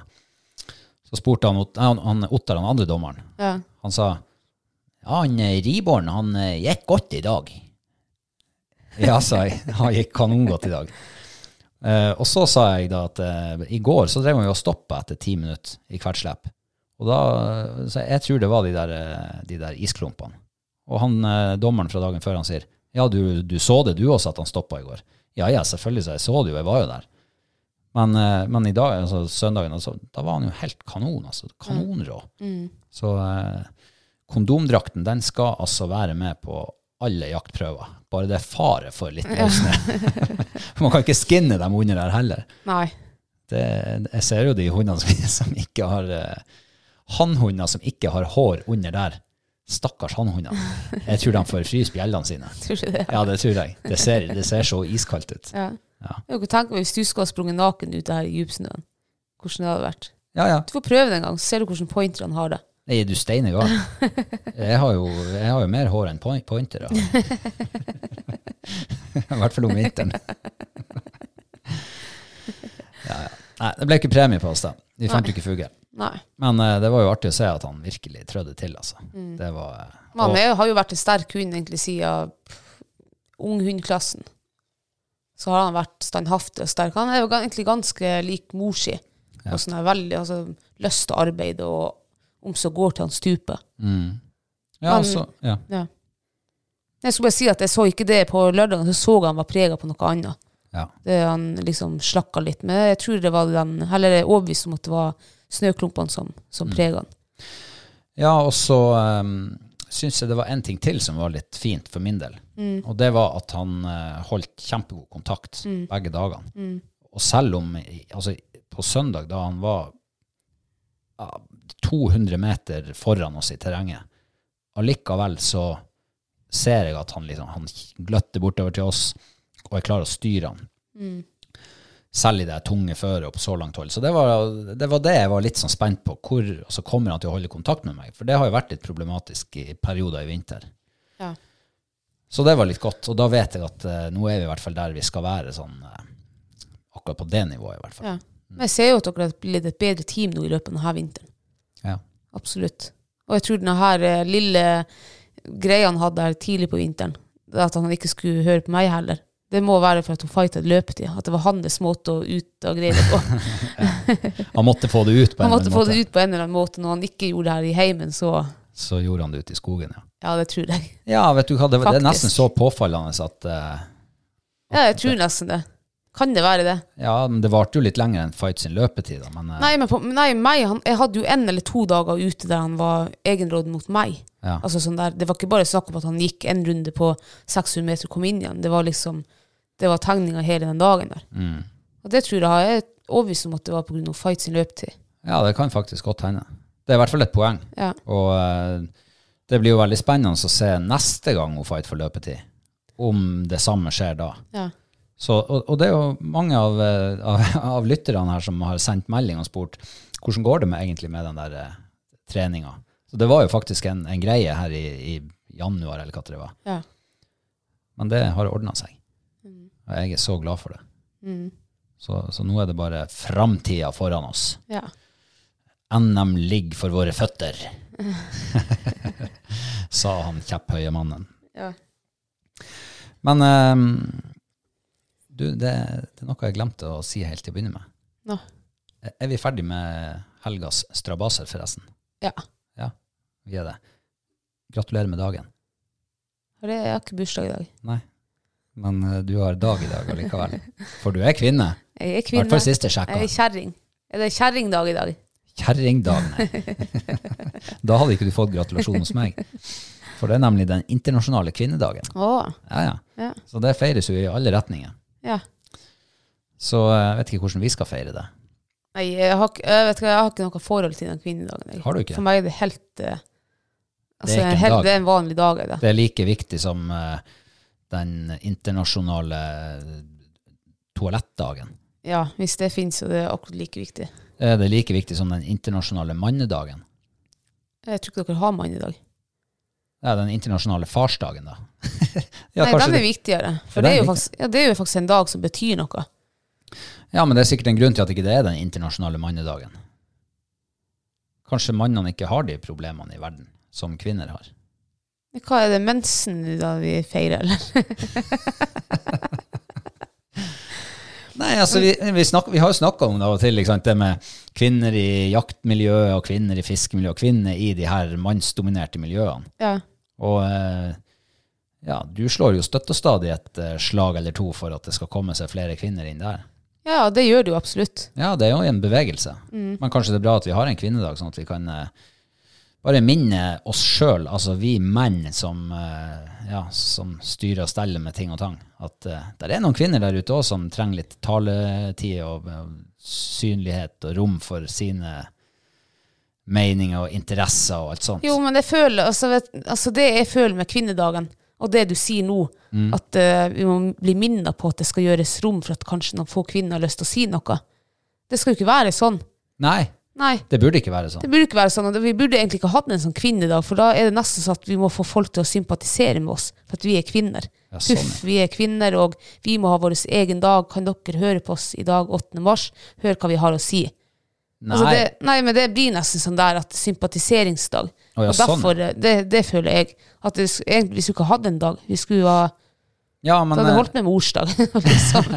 B: så spurte han, Ot- nei, han, han Ottar, han andre dommeren,
A: Ja.
B: han sa ja, han eh, Riborn, han eh, gikk godt i dag. Ja, sa jeg. Han gikk kanongodt i dag. Eh, og så sa jeg da at eh, i går så drev han jo og stoppa etter ti minutter i hvert slepp. Og da, eh, så jeg tror det var de der, eh, de der isklumpene. Og han, eh, dommeren fra dagen før han sier ja, du, du så det du også at han stoppa i går. Ja, ja, selvfølgelig, så jeg så det jo, jeg var jo der. Men, eh, men i dag, altså søndagen, altså, da var han jo helt kanon, altså. Kanonrå. Så eh, kondomdrakten, den skal altså være med på alle jaktprøver. Bare det er fare for litt løsne. Man kan ikke skinne dem under der heller.
A: Nei.
B: Det, jeg ser jo de hundene som, som ikke har eh, Hannhunder som ikke har hår under der. Stakkars hannhunder. Jeg tror de får fryse bjellene sine.
A: Tror ikke det.
B: Ja, det tror jeg. Det ser, det ser så iskaldt ut.
A: Ja.
B: Ja.
A: Jeg kan tenke meg hvis du skal ha sprunget naken ut her i djupsnøen, hvordan det hadde vært.
B: Ja, ja.
A: Du får prøve det en gang, så ser du hvordan pointerne har det.
B: Nei, du steiner gal. Jeg har jo, jeg har jo mer hår enn point- pointere. I hvert fall om vinteren. Ja, ja. Nei, det ble ikke premie på oss, da. Vi fant jo ikke fugl.
A: Nei.
B: Men eh, det var jo artig å se at han virkelig trødde til, altså. Det var eh,
A: Men
B: og,
A: Mm. han er, har jo vært en sterk hund egentlig siden pff, unghundklassen. Så har han vært standhaftig og sterk. Han er jo gan- egentlig ganske lik mor si. Og sånn er veldig altså, lyst til arbeid, og om så går til han stuper.
B: Mm. ja, så, ja.
A: Ja. Jeg skulle bare si at jeg så ikke det på lørdagen, så så jeg han var preget på noe annet.
B: Ja.
A: Det, han liksom slakka litt, men jeg tror det var den, eller det er overbevist om at det var snøklumpene som, som preget han.
B: Ja, og så um, syns jeg det var en ting til som var litt fint for min del. Og det var at han eh, holdt kjempegod kontakt begge dagene. Og selv om i- altså, på søndag, da han var ja, 200 meter foran oss i terrenget, allikevel så ser jeg at han, liksom, han gløtter bortover til oss, og jeg klarer å styre han.
A: Mm.
B: Selv i det tunge føret og på så langt hold. Så det var, det var det jeg var litt sånn spent på. Hvor, og så kommer han til å holde kontakt med meg. For det har jo vært litt problematisk i perioder i vinter.
A: Ja.
B: Så det var litt godt. Og da vet jeg at eh, nå er vi i hvert fall der vi skal være sånn eh, akkurat på det nivået, i hvert fall.
A: Ja. Men jeg ser jo at dere har blitt et bedre team nå i løpet av denne vinteren.
B: Ja.
A: Absolutt. Og jeg tror denne her eh, lille greia han hadde her tidlig på vinteren, det at han ikke skulle høre på meg heller, det må være for at hun fightet løpetid. At det var hans måte å ut av greia på.
B: Han måtte få det ut på en
A: Han måtte
B: eller
A: få
B: annen
A: det
B: måte.
A: ut på en eller annen måte. Når han ikke gjorde det her i heimen, så
B: Så gjorde han det ute i skogen, ja.
A: Ja, det tror jeg.
B: Ja, vet du hva, det, var- det er
A: Faktisk.
B: nesten så påfallende at eh,
A: Ja, jeg tror nesten det. Kan det være det?
B: Ja, men det varte jo litt lenger enn Fight sin løpetid, da. Men eh,
A: Nei, men på, nei meg, han, jeg hadde jo en eller to dager ute der han var egenrådig mot meg.
B: Ja.
A: Altså sånn der, det var ikke bare snakk om at han gikk en runde på 600 meter og kom inn igjen. Det var liksom, det var tegninga hele den dagen der. Og det tror jeg har- jeg er overbevist om at det var pga. fight sin løpetid.
B: Ja, det kan faktisk godt hende. Det er i hvert fall et poeng.
A: Ja.
B: Og eh, det blir jo veldig spennende å se neste gang hun fight for løpetid, om det samme skjer da.
A: Ja.
B: Så, og, og det er jo mange av, eh, av, av lytterne her som har sendt melding og spurt hvordan går det med, egentlig med den der uh, treninga. Så det var jo faktisk en, en greie her i, i januar, eller hva det var.
A: Ja.
B: Men det har ordna seg. Og jeg er så glad for det.
A: Mm.
B: Så, så nå er det bare framtida foran oss.
A: ja.
B: NM ligger for våre føtter, sa han kjepphøye mannen.
A: Ja.
B: Men ehm, du, det, det er noe jeg glemte å si helt til å begynne med.
A: Nå.
B: Er- Er vi ferdig med helgas strabaser, forresten?
A: Ja.
B: Ja, vi er det. Gratulerer med dagen.
A: Og det, jeg har ikke bursdag i dag.
B: Nei, men eh, du har dag i dag allikevel. For du er kvinne.
A: Jeg er
B: I hvert
A: kvinne.
B: fall siste
A: Jeg
B: sjekka.
A: er kjerring. Er det kjerringdag i dag?
B: Kjerringdag, nei. da hadde ikke du fått gratulasjon hos meg. For det er nemlig den internasjonale kvinnedagen.
A: Å.
B: Ja, ja.
A: Ja.
B: Så det feires jo i alle retninger.
A: ja.
B: Så eh, jeg vet ikke hvordan vi skal feire det.
A: Nei, jeg har, ikke- jeg, vet ikke, jeg har ikke noe forhold til den kvinnedagen. Jeg.
B: Har du ikke?
A: For meg er det helt eh, Altså,
B: ikke
A: en
B: en
A: helt,
B: dag.
A: det er en vanlig dag. Er det.
B: Det er like viktig som eh, den internasjonale toalettdagen.
A: Ja, hvis det fins, så det er akkurat like viktig.
B: Eh, Det er like viktig som den internasjonale mannedagen.
A: Jeg tror ikke dere har mann i dag.
B: Ja, den internasjonale farsdagen, da. ja,
A: Nei,
B: kanskje
A: den er
B: det-
A: viktigere.
B: Ja,
A: For det
B: den
A: er,
B: er
A: jo faktisk, ja, det er jo faktisk en dag som betyr noe.
B: ja, men det er sikkert en grunn til at ikke det er den internasjonale mannedagen. Kanskje mannene ikke har de problemene i verden som kvinner har.
A: Men Hva er det mensen da vi feirer, eller?
B: Nei, altså, vi, vi, snakker, vi har jo snakka om det av og til, ikke sant? det med kvinner i jaktmiljøet og kvinner i fiskemiljøet og kvinner i de her mannsdominerte miljøene.
A: Ja.
B: Og eh, ja, du slår jo støtt og stadig et eh, slag eller to for at det skal komme seg flere kvinner inn der.
A: ja, det gjør det jo absolutt.
B: Ja, det er jo en bevegelse.
A: Mm.
B: Men kanskje det er bra at vi har en kvinnedag, sånn at vi kan eh, bare minne oss sjøl, altså vi menn som, eh, ja, som styrer og steller med ting og tang, at eh, der er noen kvinner der ute òg som trenger litt taletid og eh, synlighet og rom for sine meninger og interesser og alt sånt.
A: Jo, men jeg føler, altså, vet, altså det jeg føler med kvinnedagen, og det du sier nå,
B: Mm.
A: at eh, vi må bli minnet på at det skal gjøres rom for at kanskje noen få kvinner har lyst til å si noe. Det skal jo ikke være sånn.
B: Nei,
A: Nei,
B: det burde ikke være sånn.
A: det burde ikke være sånn. og det- Vi burde egentlig ikke hatt en sånn kvinnedag, for da er det nesten sånn at vi må få folk til å sympatisere med oss, for at vi er kvinner.
B: Ja, sånn,
A: Huff, vi er kvinner, og vi må ha vår egen dag. Kan dere høre på oss i dag, 8. mars? Hør hva vi har å si.
B: Nei,
A: Altså det, nei, men det blir nesten sånn der at sympatiseringsdag.
B: Å ja,
A: og derfor, eh, det, det føler jeg, at det, sk- egentlig skulle ikke hatt en dag. Vi skulle ha,
B: ja,
A: det
B: men,
A: hadde
B: eh,
A: holdt med morsdag. liksom.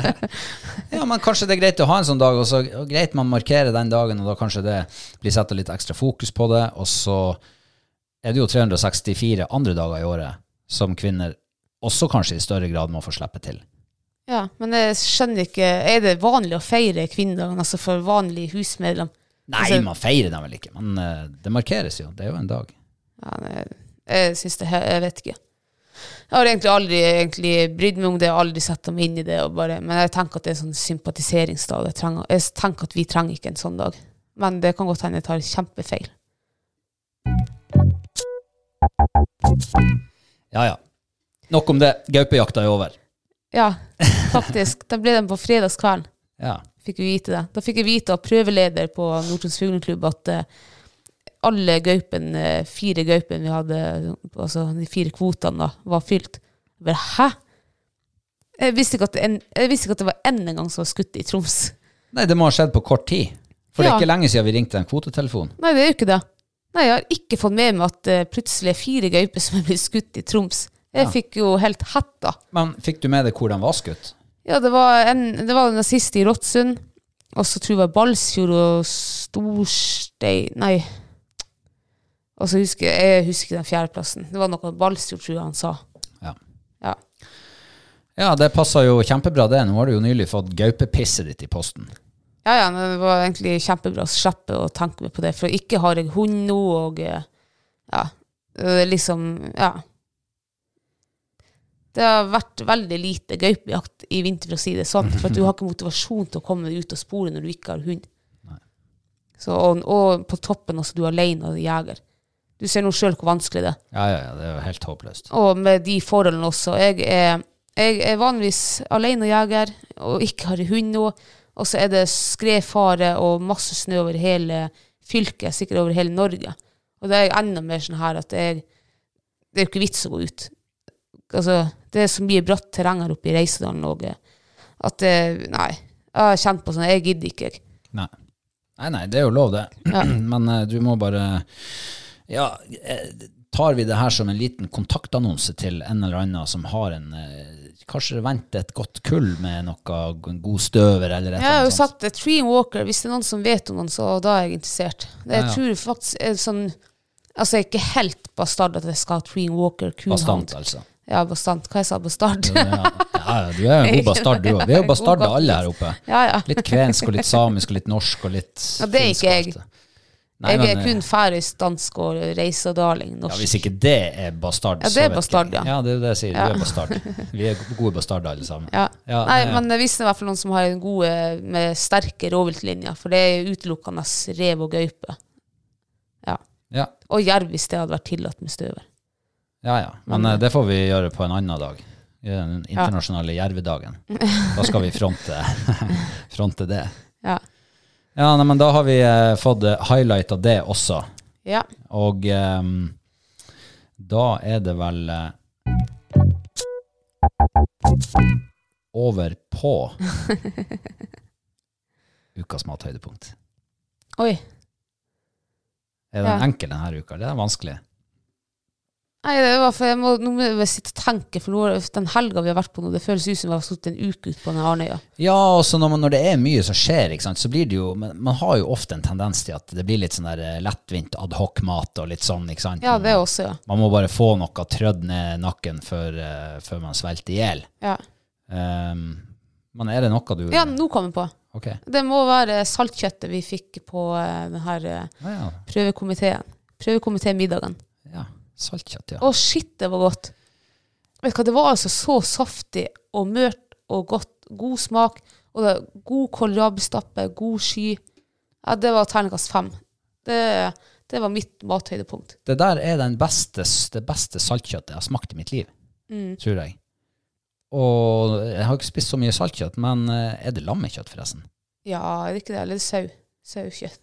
B: Ja, men kanskje det er greit å ha en sånn dag, og så og greit man markerer den dagen, og da kanskje det blir satt litt ekstra fokus på det, og så er det jo 364 andre dager i året som kvinner også kanskje i større grad må få slippe til.
A: ja, men jeg skjønner ikke, er det vanlig å feire kvinnedagen, altså for vanlig husmedlem?
B: Nei,
A: Altså-
B: man feirer dem vel ikke, men eh, det markeres jo, det er jo en dag.
A: Ja, men jeg, jeg synes det, jeg vet ikke. Jeg har egentlig aldri egentlig brydd meg om det, jeg har aldri sett dem inn i det, og bare, men jeg tenker at det er en sånn sympatiseringsdag. Jeg, trenger, jeg tenker at vi trenger ikke en sånn dag. Men det kan godt hende jeg tar kjempefeil.
B: Ja, ja. Nok om det, gaupejakta er over.
A: Ja, faktisk. Da ble den på fredagskvelden.
B: Ja,
A: Fikk vi vite det. Da fikk jeg vite av prøveleder på Nordtruns fugleklubb at eh, alle gaupen, eh, fire gaupene vi hadde, altså de fire kvotene, da, var fylt. Jeg bare hæ? Jeg visste ikke at, det en, jeg visste ikke at det var én engang som var skutt i Troms.
B: nei, det må ha skjedd på kort tid, for det
A: Ja.
B: er ikke lenge siden vi ringte en kvotetelefon.
A: Nei, det er jo ikke det. Nei, jeg har ikke fått med meg at eh, plutselig er fire gauper som er blitt skutt i Troms. Jeg
B: Ja.
A: fikk jo helt hetta.
B: Men fikk du med deg hvor de var skutt?
A: Ja, det var, en, det var den siste i Råttsund. Og så tror jeg det var Balsfjord og Storstein Nei. Og så husker jeg, jeg husker den fjerdeplassen. Det var noe Balsfjord, tror jeg han sa.
B: Ja.
A: Ja.
B: Ja, det passer jo kjempebra det. Nå har du jo nylig fått gaupepisset ditt i posten.
A: ja, ja, men det var egentlig kjempebra å slippe å tenke meg på det. For ikke har jeg hund nå, og eh, ja. eh, Liksom, ja. Det har vært veldig lite gaupejakt i vinter, for å si det sånn. For at du har ikke motivasjon til å komme deg ut av sporet når du ikke har hund. Så, og, og på toppen også, du er alene og jeger. Du ser nå sjøl hvor vanskelig det er.
B: Ja, ja, ja, det er jo helt håpløst.
A: Og med de forholdene også. Jeg er, jeg er vanligvis alenejeger og ikke har hund nå. Og så er det skredfare og masse snø over hele fylket, sikkert over hele Norge. Og det er enda mer sånn her at jeg, det er jo ikke vits å gå ut. Altså, det er så mye bratt terreng her oppe i Reisedalen og eh, at eh, Nei. Jeg har kjent på sånn Jeg gidder ikke, jeg.
B: Nei. nei, nei, det er jo lov, det. Men eh, du må bare Ja, eh, tar vi det her som en liten kontaktannonse til en eller annen som har en eh, Kanskje venter et godt kull med noe en god støver eller et
A: Jeg har jo
B: eller annet sånt.
A: sagt eh, Tree Walker. Hvis det er noen som vet om noen, så da er jeg interessert. Det, jeg
B: Ja, ja.
A: tror faktisk er sånn Altså, jeg er ikke helt bastard at jeg skal ha Tree Walker,
B: Bastant,
A: kuhound.
B: altså.
A: Ja, bastant. Hva jeg sa bastard?
B: Ja, ja, du er en god bastard, du òg. Vi er jo bastarder alle her oppe.
A: ja, ja.
B: Litt kvensk og litt samisk og litt norsk og litt
A: Ja, det er
B: finsk
A: ikke
B: og alt
A: jeg.
B: det. Nei,
A: jeg er
B: men, eh,
A: kun færøysk, dansk og reisedaling
B: Ja,
A: norsk.
B: Hvis ikke det er bastard,
A: Ja, det
B: så
A: er
B: vet
A: bastard,
B: ikke jeg.
A: ja.
B: Ja, det er det jeg sier.
A: Ja.
B: Du er bastard. Vi er gode bastarder, alle sammen.
A: Ja.
B: Ja,
A: nei,
B: eh, nei, ja.
A: men hvis det er i hvert fall noen som har en god eh, med sterke rovviltlinjer, for det er utelukkende rev og gaupe. Ja.
B: Ja,
A: Og jerv hvis det hadde vært tillatt med støver.
B: ja. ja. Men eh, det får vi gjøre på en annen dag. I Den internasjonale jervedagen. Da skal vi fronte, fronte det.
A: Ja.
B: Ja, nei, men da har vi eh, fått eh, highlight av det også.
A: ja.
B: Og ehm, da er det vel eh, over på ukas mathøydepunkt.
A: Oi.
B: Er den
A: Ja.
B: enkel denne uka? Det er vanskelig.
A: Nei, det var for jeg må, nå må jeg bare sitte og tenke, for nå, har- den helga vi har vært på nå, det føles ut som vi har sittet en uke ute på den Arnøya.
B: Ja, og så når, man, når det er mye som skjer, ikke sant, så blir det jo men Man har jo ofte en tendens til at det blir litt sånn der eh, lettvint adhoc-mat og litt sånn, ikke sant.
A: Ja, det også, ja.
B: Man må bare få noe trødd ned nakken før, eh, før man svelter i hjel.
A: Ja,
B: Ehm, men er det noe du
A: ja nå kom jeg på.
B: Ok.
A: Det må være saltkjøttet vi fikk på eh, den her eh,
B: Ja, ja.
A: prøvekomiteen. Prøvekomitémiddagen.
B: ja. Saltkjøtt, ja.
A: Å, shit, det var godt. Vet du hva, det var altså så saftig og mørt og godt. God smak. Og det var god kålrabistappe, god sky. Ja, det var terningkast fem. Det, det var mitt mathøydepunkt.
B: Det der er den beste, det beste saltkjøttet jeg har smakt i mitt liv,
A: Mm.
B: tror jeg. Og jeg har ikke spist så mye saltkjøtt, men eh, er det lammekjøtt, forresten?
A: Ja, er det ikke det? Eller sau. Saukjøtt.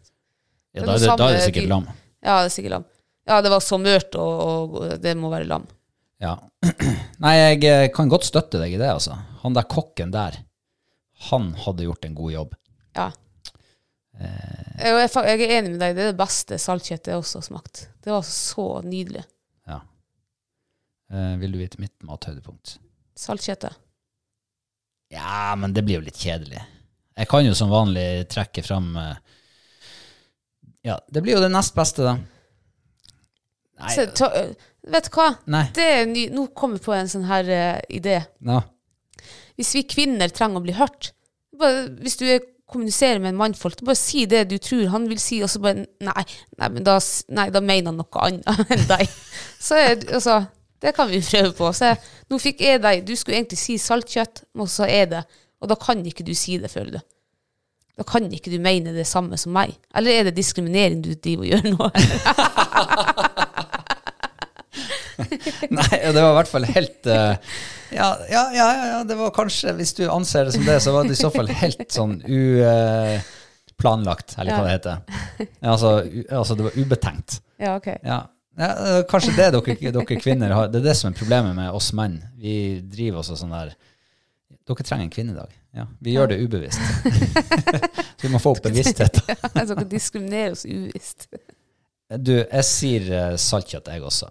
B: Ja,
A: Det
B: da
A: er
B: er det,
A: noe
B: da er det
A: samme
B: sikkert
A: dyr.
B: lam.
A: Ja, det er sikkert lam. Ja, det var så mørt, og, og det må være lam.
B: Ja. Nei, jeg eh, kan godt støtte deg i det, altså. Han der kokken der, han hadde gjort en god jobb.
A: Ja. Jeg, jeg, er fa- jeg er enig med deg. Det er det beste saltkjøttet jeg også har smakt. Det var så nydelig.
B: Ja. Eh, vil du vite mitt mathøydepunkt?
A: Saltkjøttet.
B: Ja, men det blir jo litt kjedelig. Jeg kan jo som vanlig trekke fram eh, Ja, det blir jo det nest beste, da. Nei,
A: Så, ta, vet du hva?
B: nei.
A: Det er ny, nå kommer jeg på en sånn her eh, idé.
B: Ja.
A: Hvis vi kvinner trenger å bli hørt bare, Hvis du er, kommuniserer med en mannfolk, bare si det du tror han vil si, og så bare Nei, nei, men da, s- nei da mener han noe annet enn deg. Så er, det- altså, det kan vi prøve på. Så jeg, nå fikk jeg deg Du skulle egentlig si saltkjøtt, og så er det Og da kan ikke du si det, føler du. Da kan ikke du mene det samme som meg. Eller er det diskriminering du driver og gjør nå?
B: Nei, det var i hvert fall helt eh, ja, ja, ja, ja, ja, det var kanskje Hvis du anser det som det, så var det i så fall helt sånn uplanlagt, eller hva det heter. Ja, altså, u, altså, det var ubetenkt.
A: Ja, ok.
B: Ja. Ja, eh, kanskje det dere, dere kvinner har Det er det som er problemet med oss menn. Vi driver også sånn der Dere trenger en kvinnedag. Ja, vi gjør det ubevisst. Så vi må få opp bevissthet.
A: Så kan diskriminere oss uvisst.
B: Du, jeg sier eh, saltkjøtt, jeg også.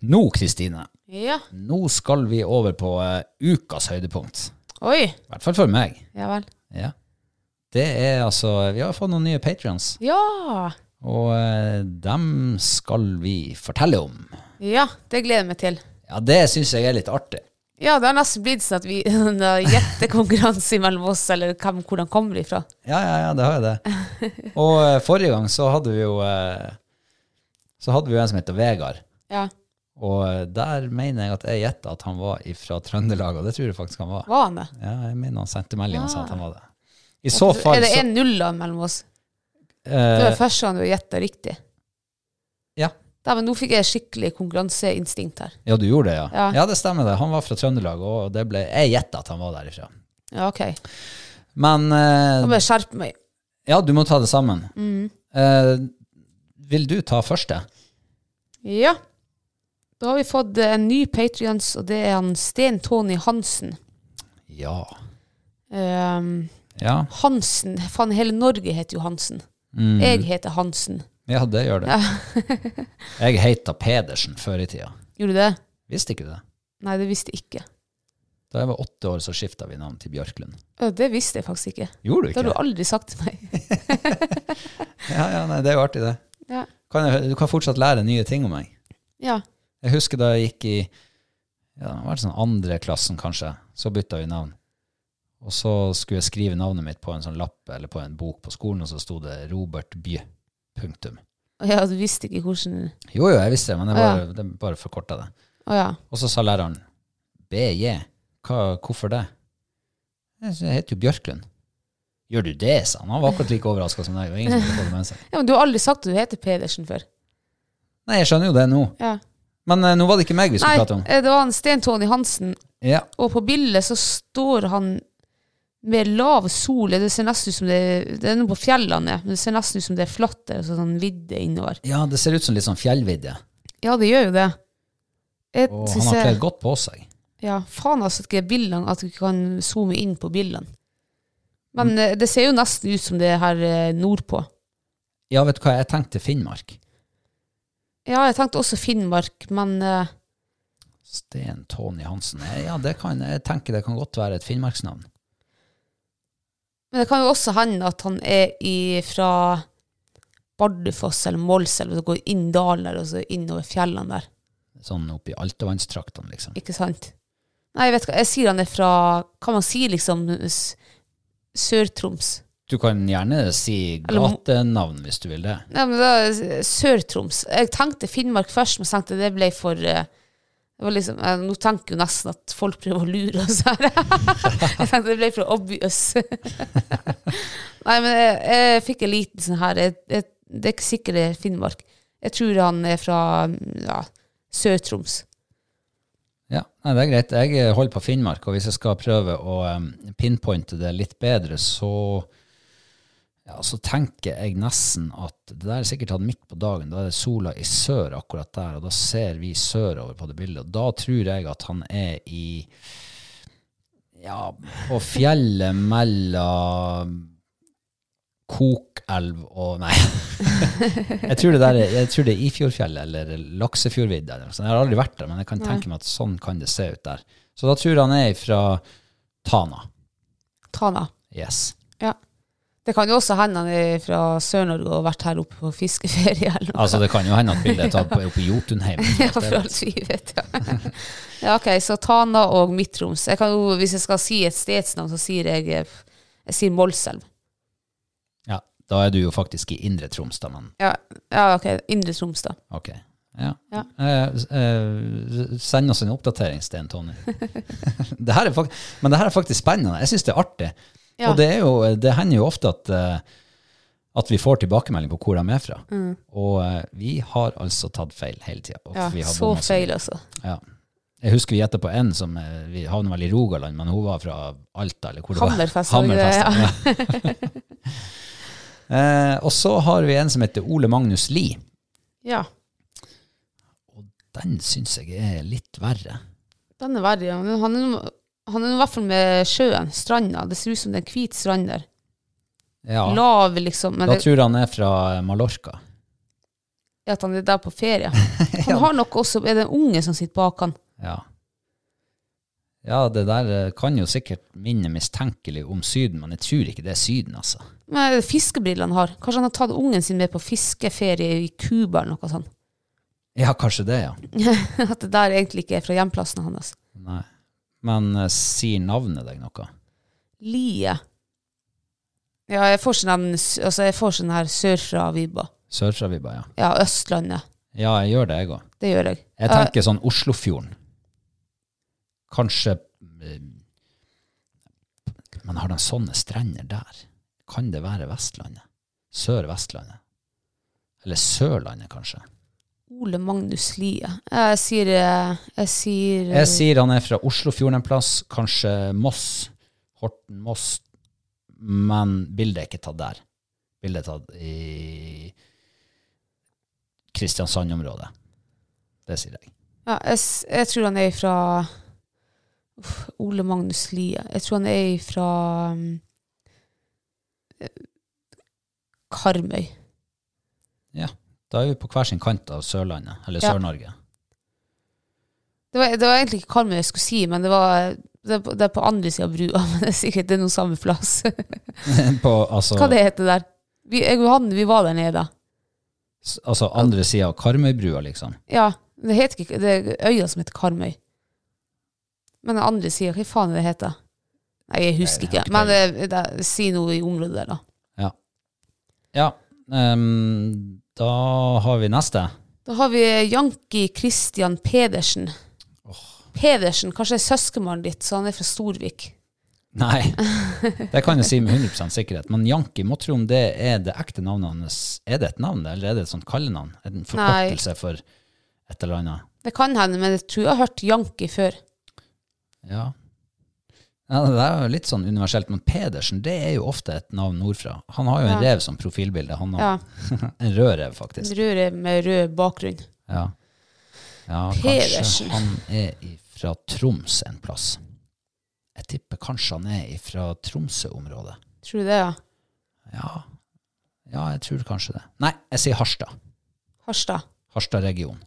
B: Nå, Kristine,
A: Ja.
B: nå skal vi over på eh, ukas høydepunkt.
A: Oi.
B: I hvert fall for meg.
A: Ja vel.
B: Ja. Det er altså Vi har fått noen nye patrions,
A: Ja.
B: og eh, dem skal vi fortelle om.
A: Ja, det gleder jeg meg til.
B: Ja, det syns jeg er litt artig.
A: Ja, det har nesten blitt sånn at vi en, uh, gjettekonkurranse mellom oss, eller hvem, hvordan kommer de fra.
B: Ja, ja, ja, det har jeg det. Og eh, forrige gang så hadde vi jo eh, Så hadde vi jo en som heter Vegard.
A: Ja.
B: Og eh, der mener jeg at jeg gjetta at han var fra Trøndelag, og det tror jeg faktisk han var.
A: Var han det?
B: Ja, jeg mener han sendte melding og sa at han var det. I så
A: Er
B: fall
A: det
B: så
A: en nuller mellom oss? Det var
B: eh,
A: første gang du gjetta riktig.
B: ja.
A: Da, men nå fikk jeg skikkelig konkurranseinstinkt her.
B: ja, du gjorde det, ja. ja.
A: Ja.
B: det stemmer det. Han var fra Trøndelag, og det ble, jeg gjetta at han var derifra.
A: Ja, ok.
B: Men
A: Nå
B: eh,
A: må jeg skjerpe meg.
B: ja, du må ta det sammen.
A: Mm.
B: Eh, vil du ta første?
A: Ja. Da har vi fått eh, en ny Patrions, og det er han Sten Tony Hansen.
B: Ja.
A: Ehm,
B: Ja,
A: Hansen Faen, hele Norge heter jo Hansen. Jeg heter Hansen.
B: ja det gjør det. jeg heita Pedersen før i tida.
A: Gjorde du det?
B: Visste ikke du det?
A: Nei, det visste jeg ikke.
B: Da jeg var åtte år, så skifta vi navn til Bjørklund.
A: Ø, Det visste jeg faktisk ikke.
B: Gjorde du
A: Det
B: ikke
A: har du
B: det?
A: aldri sagt til meg.
B: Ja, ja, nei, det er jo artig, det.
A: Ja.
B: Kan jeg, du kan fortsatt lære nye ting om meg.
A: Ja.
B: Jeg husker da jeg gikk i ja, det var sånn andre klassen, kanskje. Så bytta vi navn. Og så skulle jeg skrive navnet mitt på en sånn lapp eller på en bok på skolen, og så sto det Robert Bye. Punktum.
A: ja, altså, du visste ikke hvordan
B: Jo, jo, jeg visste det, men jeg
A: Å,
B: bare,
A: ja.
B: det bare forkorta det.
A: Å ja.
B: Og så sa læreren BJ. Hva- Hvorfor det? Jeg heter jo Bjørklund. Gjør du det, sa han. Han var akkurat like overraska som deg. Det var ingen som hadde fått det med seg.
A: Ja, men du har aldri sagt at du heter Pedersen før.
B: Nei, jeg skjønner jo det nå.
A: Ja.
B: Men eh, nå var det ikke meg vi
A: Nei,
B: skulle prate om.
A: eh, det var en Sten Tony Hansen,
B: Ja.
A: og på bildet så står han med lav sol. Det ser nesten ut som det er, det er noe på fjellene, men det ser nesten ut som det er flatt der, og så sånn vidde innover.
B: ja, det ser ut som litt sånn fjellvidde.
A: Ja, det gjør jo det. Jeg
B: Og han
A: synes
B: har
A: jeg-
B: kledd godt på seg.
A: Ja, faen altså ikke bildene, at du ikke kan zoome inn på bildene. Men eh, det ser jo nesten ut som det er her eh, nordpå.
B: Ja, vet du hva, jeg tenkte Finnmark.
A: Ja, jeg tenkte også Finnmark, men eh,
B: Sten Tony Hansen. Eh, Ja, det kan, jeg tenker det kan godt være et finnmarksnavn.
A: Men det kan jo også hende at han er i, fra Bardufoss eller Målselv, og så går inn dalen der, og så innover fjellene der.
B: Sånn oppi Altavannstraktene, liksom.
A: Ikke sant? Nei, jeg vet hva, jeg sier han er fra Kan man si liksom s- Sør-Troms?
B: Du kan gjerne si
A: Eller må-
B: gatenavn hvis du vil det.
A: Nei, men da eh, Sør-Troms. Jeg tenkte Finnmark først, men så tenkte jeg det ble for eh, det var liksom, eh, Nå tenker jeg jo nesten at folk prøver å lure oss her. jeg tenkte det ble for obvious. Nei, men jeg, jeg fikk en liten sånn her jeg, jeg, Det er ikke sikkert det er Finnmark. Jeg tror han er fra ja, Sør-Troms.
B: Ja, nei, det er greit. Jeg eh, holder på Finnmark, og hvis jeg skal prøve å eh, pinpointe det litt bedre, så, ja, så tenker jeg nesten at det der er sikkert tatt midt på dagen. Da er det sola i sør akkurat der, og da ser vi sørover på det bildet. Og da tror jeg at han er i ja, på fjellet mellom Kokelv og Nei. Jeg tror det, der er, jeg tror det er Ifjordfjellet eller Laksefjordvidda. eller noe sånt. Jeg har aldri vært der, men jeg kan tenke meg at sånn kan det se ut der. Så da tror jeg han er fra Tana.
A: Tana.
B: Yes.
A: Ja. Det kan jo også hende han er fra Sør-Norge og har vært her oppe på fiskeferie. eller noe.
B: Altså, det kan jo hende at bildet er tatt på- oppe i Jotunheimen.
A: Ja, for alt vi vet, ja. ja ok, så Tana og Midtroms. Jeg kan oh, jo, hvis jeg skal si et stedsnavn, så sier jeg, eh, jeg sier Målselv.
B: Ja, da er du jo faktisk i Indre Troms, da, men
A: Ja, ja ok, Indre Troms da.
B: ok. Ja.
A: Ja.
B: Eh, eh, send oss en oppdatering, Sten Tonje. det her er fak- men det her er faktisk spennende. Jeg syns det er artig.
A: Ja.
B: Og det, er jo, det hender jo ofte at, eh, at vi får tilbakemelding på hvor de er fra. Og eh, vi har altså tatt feil hele tida.
A: Mm. Ja, så feil altså.
B: Ja. Jeg husker vi gjetta på en som eh, vi havna vel i Rogaland, men hun var fra Alta. eller hvor det var.
A: Hammerfest, var det ikke det?
B: Hammerfest. Ja. eh, og så har vi en som heter Ole Magnus Lie.
A: Ja,
B: Den syns jeg er litt verre.
A: den er verre. ja. Men Han er, noe- han er noe i hvert fall med sjøen, stranda. Det ser ut som det er en hvit strand der.
B: Ja,
A: Lav liksom, men
B: Da
A: det,
B: tror jeg han er fra Mallorca.
A: er at han er der på ferie. Han har nok også, er det en unge som sitter bak han?
B: Ja. ja, det der eh, kan jo sikkert minne mistenkelig om Syden, men jeg tror ikke det er Syden, altså.
A: Men er det fiskebrillene han har? Kanskje han har tatt ungen sin med på fiskeferie i Kuba eller noe sånt?
B: Ja, kanskje det, ja.
A: At det der egentlig ikke er fra hjemplassen hans.
B: Nei. Men eh, sier navnet deg noe?
A: Lie. Ja, jeg får sånn her, altså jeg får sånn her sørfra-vibba.
B: Sørfra vi bare, ja.
A: Ja, Østlandet.
B: Ja, jeg gjør det, jeg òg.
A: Det gjør jeg. Ja,
B: Jeg tenker sånn Oslofjorden. Kanskje eh, Men har de sånne strender der? Kan det være Vestlandet? Sør-Vestlandet? Eller Sørlandet, kanskje?
A: Ole Magnus Lie. Jeg sier eh, Jeg sier,
B: Jeg sier han er fra Oslofjorden en plass, kanskje Moss, Horten, Moss, men bildet er ikke tatt der. Bildet er tatt i Kristiansand-området. Det sier jeg.
A: ja, jeg, s- jeg tror han er fra Uff, Ole Magnus Lie. Jeg tror han er fra mm, eh, Karmøy.
B: Ja, da er vi på hver sin kant av Sørlandet, eller
A: Ja.
B: Sør-Norge.
A: Det var, det var egentlig ikke Karmøy jeg skulle si, men det var det er på, det er på andre sida av brua. Men det er sikkert det er noe samme plass.
B: På altså,
A: Hva det heter der? Vi, jeg og Johanne, vi var der nede da.
B: s- altså andre sida av Karmøybrua, liksom.
A: Ja, det heter ikke Det er øya som heter Karmøy. Men den andre sida, hva faen er det heter? Nei, jeg husker
B: Nei, jeg
A: ikke.
B: har
A: Men
B: ikke
A: eh, det- si noe i området der, da.
B: Ja. ja ehm, da har vi neste.
A: Da har vi eh, Janki Christian Pedersen. Pedersen, kanskje det er søskenbarnet ditt, så han er fra Storvik.
B: Nei, det kan jeg si med 100 sikkerhet. Men Janki, må tro om det er det ekte navnet hans. Er det et navn, eller er det et sånt kallenavn? En forkortelse for et eller annet?
A: Det kan hende, men jeg tror jeg har hørt Janki før.
B: Ja. ja. Det er jo litt sånn universelt, men Pedersen det er jo ofte et navn nordfra. Han har jo en
A: Ja.
B: rev som profilbilde. Han
A: Ja.
B: har En rød rev, faktisk.
A: Rød med rød bakgrunn.
B: Ja. ja
A: Pedersen.
B: Kanskje han er fra Troms en plass. Jeg tipper kanskje han er fra Tromsø-området.
A: Tror du det, ja?
B: Ja. ja, jeg tror kanskje det. Nei, jeg sier Harstad.
A: Harstad.
B: Harstad-region.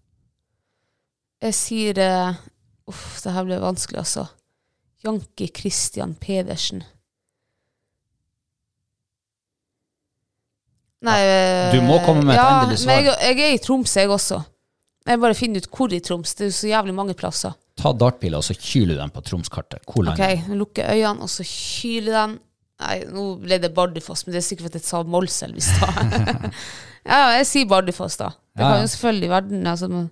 A: Jeg sier eh, Uff, det her ble vanskelig, altså. Janki Christian Pedersen. Nei eh,
B: Du må komme med et
A: ja,
B: endelig
A: men
B: svar.
A: Jeg, jeg er i Troms, jeg også. Jeg bare finner ut hvor i Troms. Det er jo så jævlig mange plasser.
B: Ta dartpila, og så kyler du den på Troms-kartet. Hvor
A: Ok,
B: langt?
A: jeg lukker øynene, og så kyler den. Nei, nå ble det Bardufoss, men det er sikkert fordi jeg sa Målselv i stad. ja, jeg sier Bardufoss, da. Det
B: Ja,
A: kan
B: ja.
A: jo selvfølgelig verden altså, man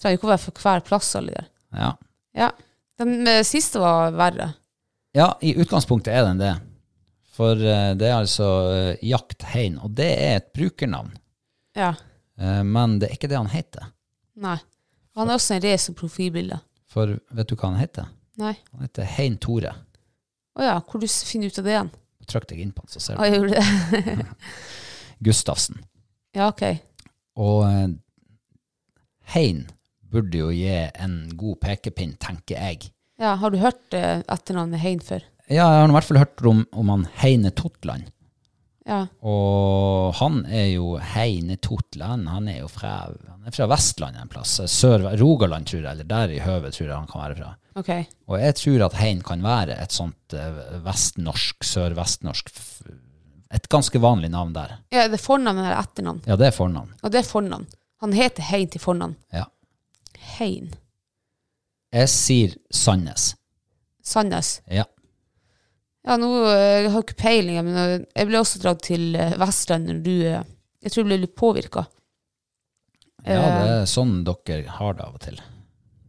A: trenger jo ikke å være for hver plass, alle der.
B: Ja.
A: Ja. Den eh, siste var verre.
B: Ja, i utgangspunktet er den det. For eh, det er altså eh, Jakthein, og det er et brukernavn.
A: Ja.
B: Eh, men det er ikke det han heter.
A: Nei. Han er også en race som profilbilde.
B: For vet du hva han heter?
A: Nei.
B: Han heter Hein Tore.
A: Å ja, hvor du s- finner ut av det igjen?
B: Trykk deg inn på han, så ser
A: Å, Ah, jeg
B: du.
A: gjorde det.
B: Gustavsen.
A: Ja, ok.
B: Og eh, Hein burde jo gi en god pekepinn, tenker jeg.
A: Ja, har du hørt eh, etternavnet Hein før?
B: Ja, jeg har nå i hvert fall hørt om, om han Heine Totland.
A: Ja.
B: Og han er jo Heine Totland. Han er jo fra, han er fra Vestlandet en plass. Sør, Rogaland, tror jeg, eller der i høvet tror jeg han kan være fra.
A: Ok.
B: Og jeg tror at Hein kan være et sånt eh, vestnorsk, sørvestnorsk f- Et ganske vanlig navn der.
A: Ja, det er fornavn eller etternavn?
B: Ja, det er fornavn.
A: Og det er fornavn. Han heter Hein til fornavn.
B: Ja.
A: Hein.
B: Jeg sier Sandnes.
A: Sandnes.
B: Ja.
A: Ja, nå eh, jeg har ikke peiling, men eh, jeg ble også dratt til eh, Vestlandet når du eh, Jeg tror jeg ble litt påvirka.
B: ja, det er sånn dere har det av og til.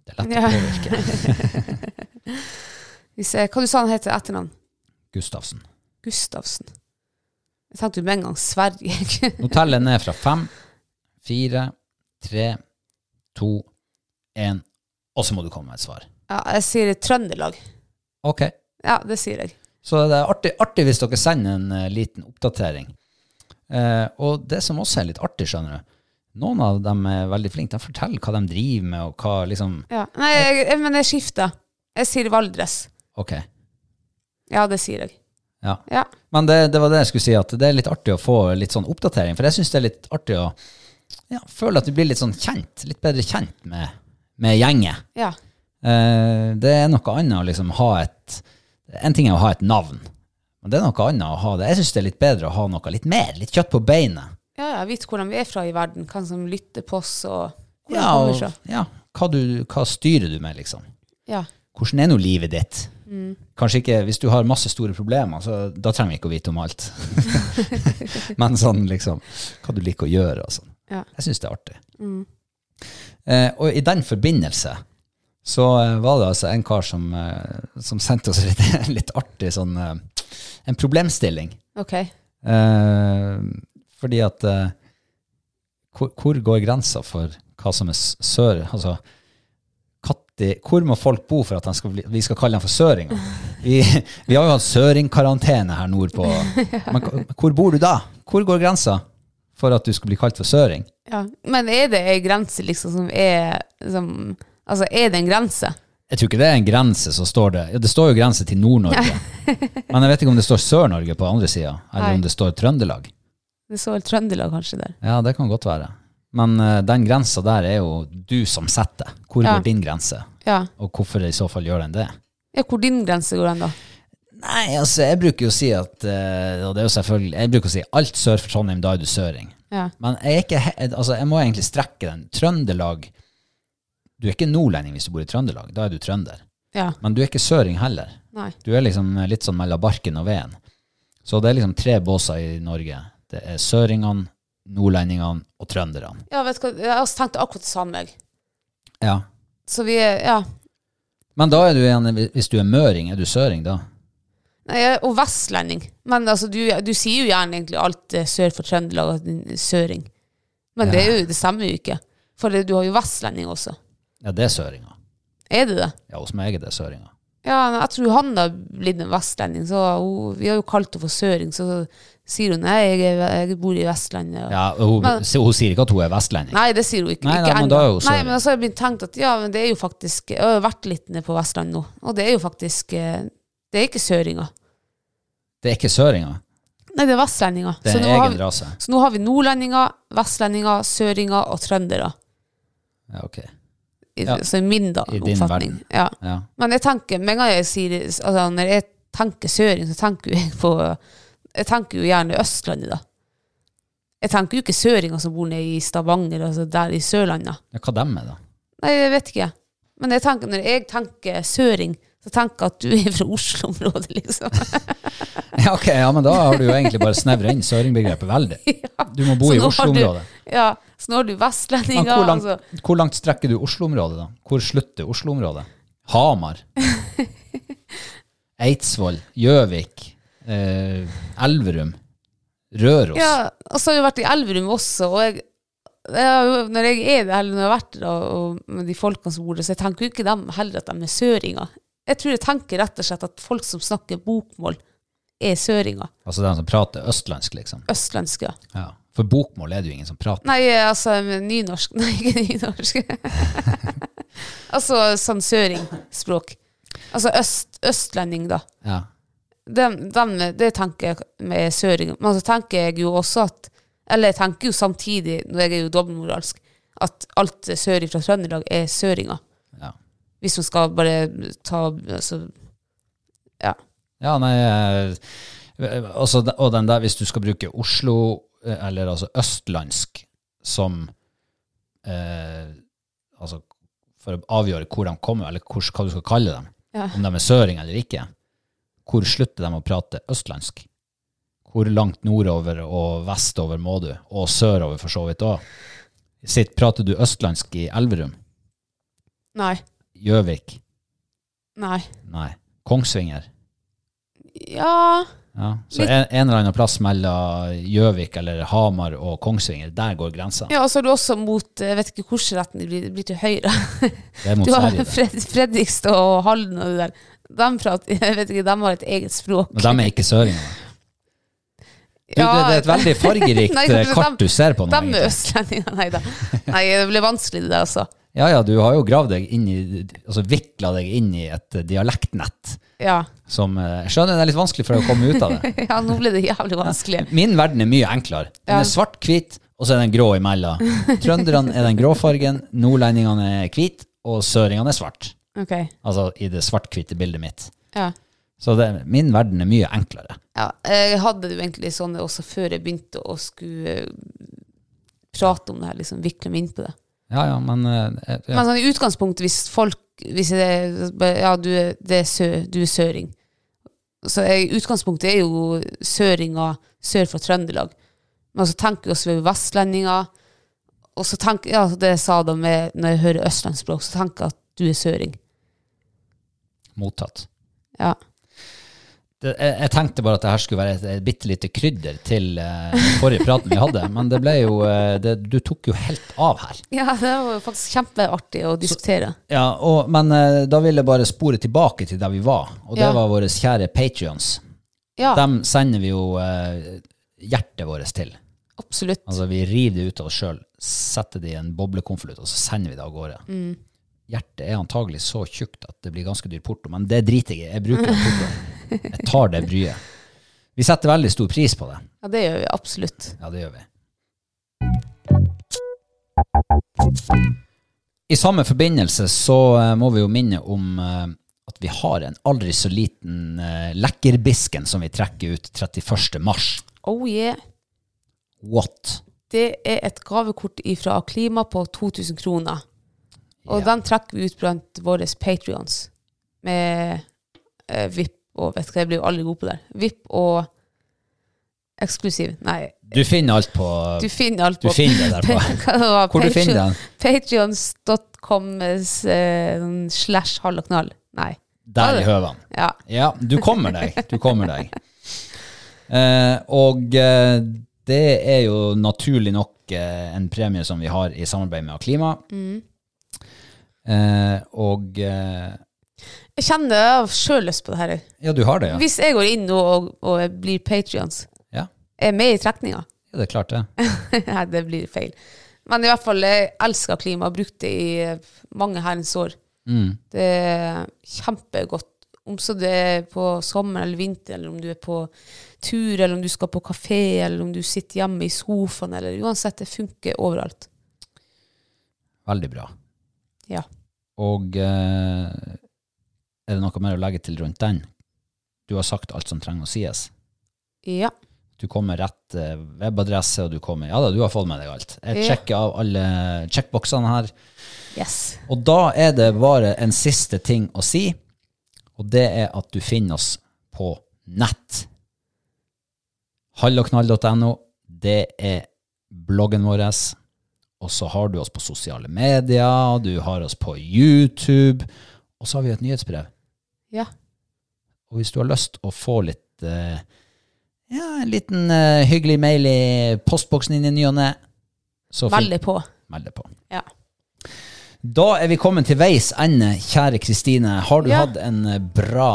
B: Det er lett
A: Ja.
B: å påvirke.
A: Hvis jeg, hva du sa han heter etternavn?
B: Gustavsen.
A: Gustavsen. Jeg tenkte jo med en gang Sverige.
B: Nå teller jeg ned fra fem, fire, tre, to, én, og så må du komme med et svar.
A: ja, jeg sier Trøndelag.
B: Ok.
A: Ja, det sier jeg.
B: Så det er artig, artig hvis dere sender en eh, liten oppdatering. Eh, og det som også er litt artig, skjønner du, noen av dem er veldig flinke. De forteller hva de driver med, og hva liksom
A: Ja. Nei, jeg, jeg, men jeg skifter. Jeg sier Valdres.
B: Ok.
A: Ja, det sier jeg.
B: Ja.
A: Ja.
B: Men det, det var det jeg skulle si, at det er litt artig å få litt sånn oppdatering. For jeg syns det er litt artig å ja, føle at du blir litt sånn kjent, litt bedre kjent med, med gjengen.
A: ja.
B: Eh, det er noe annet å liksom ha et En ting er å ha et navn, men det er noe annet å ha det. Jeg syns det er litt bedre å ha noe litt mer, litt kjøtt på beinet.
A: Ja, ja, vite hvordan vi er fra i verden, hvem som lytter på oss, og hvor vi
B: Ja,
A: kommer fra.
B: og, ja hva, du, hva styrer du med, liksom?
A: Ja.
B: Hvordan er nå livet ditt? Kanskje ikke, Hvis du har masse store problemer, så da trenger vi ikke å vite om alt. Men sånn liksom, hva du liker å gjøre og sånn.
A: Ja.
B: Jeg syns det er artig. Eh, og i den forbindelse så eh, var det altså en kar som, eh, som sendte oss litt, litt artig sånn eh, En problemstilling.
A: Ok.
B: Eh, fordi at eh, hvor, hvor går grensa for hva som er s- sør? Altså, Katti, hvor må folk bo for at han skal bli, vi skal kalle dem for søringer? Vi, vi har jo hatt søringkarantene her nordpå. Men k- hvor bor du da? Hvor går grensa for at du skal bli kalt for søring?
A: Ja. Men er det ei grense liksom som er som, Altså, er det en grense?
B: Jeg tror ikke det er en grense som står det. Ja, det står jo grense til Nord-Norge. Men jeg vet ikke om det står Sør-Norge på andre sida, eller
A: Nei.
B: om det står Trøndelag.
A: Det står vel Trøndelag kanskje der.
B: Ja, det kan godt være. Men eh, den grensa der er jo du som setter. Hvor
A: Ja.
B: går din grense?
A: Ja.
B: Og hvorfor i så fall gjør den det?
A: ja hvor din grense går den, da?
B: Nei, altså, jeg bruker jo å si at eh, Og det er jo selvfølgelig Jeg bruker å si alt sør for Trondheim, da er du søring.
A: Ja.
B: Men jeg er ikke he- Altså, jeg må egentlig strekke den. Trøndelag Du er ikke nordlending hvis du bor i Trøndelag. Da er du trønder.
A: ja.
B: Men du er ikke søring heller.
A: Nei.
B: Du er liksom litt sånn mellom barken og veden. Så det er liksom tre båser i Norge. Det er søringene, nordlendingene og trønderne.
A: Ja, vet du hva, jeg har også tenkt akkurat det samme. jeg.
B: Ja.
A: Så vi er, ja.
B: Men da er du igjen, hvis du er møring, er du søring da?
A: Nei, jeg- og vestlending. Men altså, du, du sier jo gjerne egentlig alt eh, sør for Trøndelag, at din søring. Men det, er jo, det stemmer jo ikke. For det, du har jo vestlending også.
B: Ja, det er søringa.
A: Er det det?
B: Ja, hos meg er det søringa.
A: Ja, nei, jeg tror han har blitt en vestlending. Så hun, vi har jo kalt henne for søring, så sier hun nei, jeg, er, jeg bor i Vestlandet.
B: Ja, hun,
A: Men-
B: hun sier ikke at hun er vestlending.
A: Nei, det sier hun ikke.
B: Nei,
A: ikke
B: nei, men
A: ennå.
B: da er hun søring.
A: Nei, men så har jeg begynt tenkt at ja, men det er jo faktisk Jeg har jo vært litt nede på Vestlandet nå, og det er jo faktisk eh, Det er ikke søringer.
B: Det er ikke søringa.
A: Nei, det er vestlendinger.
B: Det
A: Så
B: er en
A: nå, har
B: egen
A: vi,
B: rase.
A: så nå har vi nordlendinger, vestlendinger, søringer og trøndere.
B: Ja, ok.
A: I,
B: Ja.
A: Så i min da,
B: I din
A: oppfatning.
B: verden.
A: Ja.
B: Ja.
A: Men jeg tenker, med en gang jeg sier altså, Når jeg tenker søring, så tenker jo jeg på Jeg tenker jo gjerne Østlandet, da. Jeg tenker jo ikke søringer som bor nede i Stavanger, altså der i Sørlandet.
B: Ja, hva dem er, da?
A: Nei, jeg vet ikke. Men jeg tenker, når jeg tenker søring, så tenker jeg at du er fra Oslo-området, liksom.
B: Ja, ok, ja, men da har du jo egentlig bare snevra inn søringbegrepet veldig. Du må bo
A: Så nå har
B: i
A: du-
B: Oslo-området.
A: Ja. Så nå har du
B: Men
A: vestlendinger.
B: hvor langt,
A: altså.
B: hvor langt strekker du Oslo-området, da? Hvor slutter Oslo-området? Hamar? Eidsvoll? Gjøvik? Eh, Elverum? Røros?
A: Ja, og så har jeg vært i Elverum også, og jeg, jeg, har jo- når jeg er der, eller når jeg har vært der og, og med de folkene som bor der, så jeg tenker jo ikke dem heller at de er søringer. Jeg tror jeg tenker rett og slett at folk som snakker bokmål, er søringer.
B: Altså den som prater østlandsk, liksom.
A: Østlandske.
B: Ja. For bokmål er det jo ingen som prater.
A: Nei, altså men nynorsk. Nei, ikke nynorsk. altså sånn søringspråk. Altså øst, østlending, da.
B: Ja.
A: Dem- dem- det tenker jeg med søring. Men så tenker jeg jo også at Eller jeg tenker jo samtidig, når jeg er jo dobbeltmoralsk, at alt sør fra Trøndelag er søringer.
B: Ja.
A: Hvis man skal bare ta altså, Ja.
B: Ja, nei eh, altså, de- Og den der, hvis du skal bruke Oslo, eh, eller altså østlandsk, som eh, Altså for å avgjøre hvor de kommer, eller hvor, hva du skal kalle dem,
A: Ja.
B: om de er søring eller ikke, hvor slutter de å prate østlandsk? Hvor langt nordover og vestover må du, og sørover for så vidt òg? Prater du østlandsk i Elverum?
A: Nei.
B: Gjøvik?
A: Nei.
B: Nei. Kongsvinger?
A: Ja
B: Ja, så
A: Litt-
B: en, en eller annen plass mellom Gjøvik eller Hamar og Kongsvinger, der går grensa.
A: Ja, og så er du også mot Jeg vet ikke hvilken retning det blir, det blir til høyre.
B: Det er mot
A: Du har
B: Sverige. det.
A: Fred, Fredrikstad og Halden og det der. De prater Jeg vet ikke, de har et eget språk.
B: Men de er ikke søringer. Du, det, det er et veldig fargerikt
A: Nei,
B: eh,
A: kanskje
B: kart
A: de-
B: du ser på nå.
A: De er
B: egentlig.
A: østlendinger, nei da. Nei, det ble vanskelig det der, altså.
B: Ja, ja, du har jo gravd deg inn i Altså vikla deg inn i et eh, dialektnett
A: Ja.
B: som eh, Jeg skjønner det er litt vanskelig for deg å komme ut av det.
A: ja, nå ble det jævlig vanskelig.
B: Min verden er mye enklere.
A: Ja.
B: Den er svart-hvit, og så er den grå imellom. Trønderne er den gråfargen, nordlendingene er hvite, og søringene er svart.
A: Ok,
B: Altså i det svart-hvite bildet mitt.
A: ja.
B: Så det, min verden er mye enklere.
A: ja. Jeg hadde det jo egentlig sånn også før jeg begynte å skulle eh, prate om det her, liksom vikle meg inn på det.
B: Ja, ja, men eh, ja.
A: Men sånn i utgangspunktet, hvis folk hvis det, er- bare, Ja, du er, det er, sø, du er søring. Så jeg, utgangspunktet er jo søringa sør for Trøndelag. Men så tenker jeg også ved vestlendinger. Og så tenker ja, det jeg sa da med, når jeg hører østlandsspråk, så tenker jeg at du er søring.
B: Mottatt.
A: Ja.
B: Det, jeg, jeg tenkte bare at det her skulle være et, et bitte lite krydder til eh, den forrige praten vi hadde, men det ble jo eh, det, Du tok jo helt av her.
A: Ja, det var jo faktisk kjempeartig å diskutere.
B: Ja, og, Men eh, da vil jeg bare spore tilbake til der vi var, og det
A: Ja.
B: var våre kjære patrions.
A: ja,
B: Dem sender vi jo eh, hjertet vårt til.
A: absolutt.
B: Altså Vi river det ut av oss sjøl, setter det i en boblekonvolutt, og så sender vi det av gårde.
A: Mm.
B: Hjertet er antagelig så tjukt at det blir ganske dyr porto, men det driter jeg i. Jeg bruker den portoen. Jeg tar det bryet. Vi setter veldig stor pris på det.
A: Ja, det gjør vi absolutt.
B: Ja, det gjør vi. I samme forbindelse så eh, må vi jo minne om eh, at vi har en aldri så liten eh, lekkerbisken som vi trekker ut 31. mars.
A: Oh yeah.
B: What?
A: Det er et gavekort ifra Klima på 2000 kroner. Og
B: Ja.
A: den trekker vi ut blant våre Patreons med eh, VIP og vet du hva, jeg blir jo aldri god på det. VIP og eksklusiv. Nei,
B: Du finner alt på
A: du finner alt
B: Du
A: på
B: finner det der på.
A: Hva det var,
B: Hvor du
A: Patreon-
B: finner den?
A: Patreons.com eh, slash halloknall. Nei.
B: Der i høven.
A: Ja.
B: Ja, du kommer deg. Du kommer deg. Eh, og eh, det er jo naturlig nok eh, en premie som vi har i samarbeid med Klima.
A: Mm.
B: Eh, og eh,
A: Jeg kjenner jeg har sjøl lyst på det her.
B: Ja, du har det, ja.
A: Hvis jeg går inn nå og, og blir patrions,
B: Ja,
A: er jeg med i trekninga?
B: ja det er klart det.
A: Nei, det blir feil. Men i hvert fall, jeg elsker klima. Har brukt det i eh, mange herrens år.
B: Mm,
A: Det er kjempegodt. Om så det er på sommeren eller vinter, eller om du er på tur, eller om du skal på kafé, eller om du sitter hjemme i sofaen, eller uansett, det funker overalt.
B: Veldig bra.
A: Ja.
B: Og eh, er det noe mer å legge til rundt den? Du har sagt alt som trenger å sies.
A: Ja.
B: Du kom med rett eh, webadresse, og du kom med Ja da, du har fått med deg alt. Jeg
A: Ja.
B: sjekker av alle checkboxene her.
A: Yes.
B: Og da er det bare en siste ting å si, og det er at du finner oss på nett. Halloknall.no, det er bloggen vår. Og så har du oss på sosiale medier, du har oss på YouTube, og så har vi et nyhetsbrev.
A: Ja.
B: Og hvis du har lyst å få litt eh, ja, en liten eh, hyggelig mail i postboksen din i ny og ne, så finn-
A: Veldig på.
B: meld deg på.
A: Ja.
B: Da er vi kommet til veis ende, kjære Kristine. Har du
A: Ja.
B: hatt en eh, bra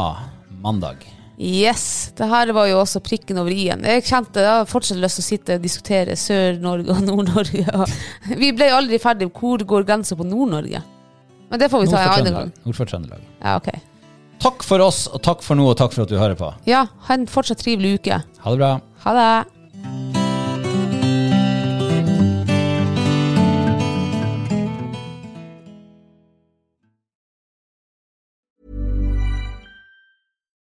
B: mandag?
A: Yes, det her var jo også prikken over i-en. Jeg kjente jeg har fortsatt lyst til å sitte og diskutere Sør-Norge og Nord-Norge. og- Vi ble aldri ferdig. Hvor går grensa på Nord-Norge? Men det får vi ta en annen gang.
B: Trøndelag. Nord for Trøndelag.
A: Ja, ok.
B: Takk for oss, og takk for nå, og takk for at du hører på.
A: Ja, ha en fortsatt trivelig uke.
B: Ha det bra.
A: Ha det.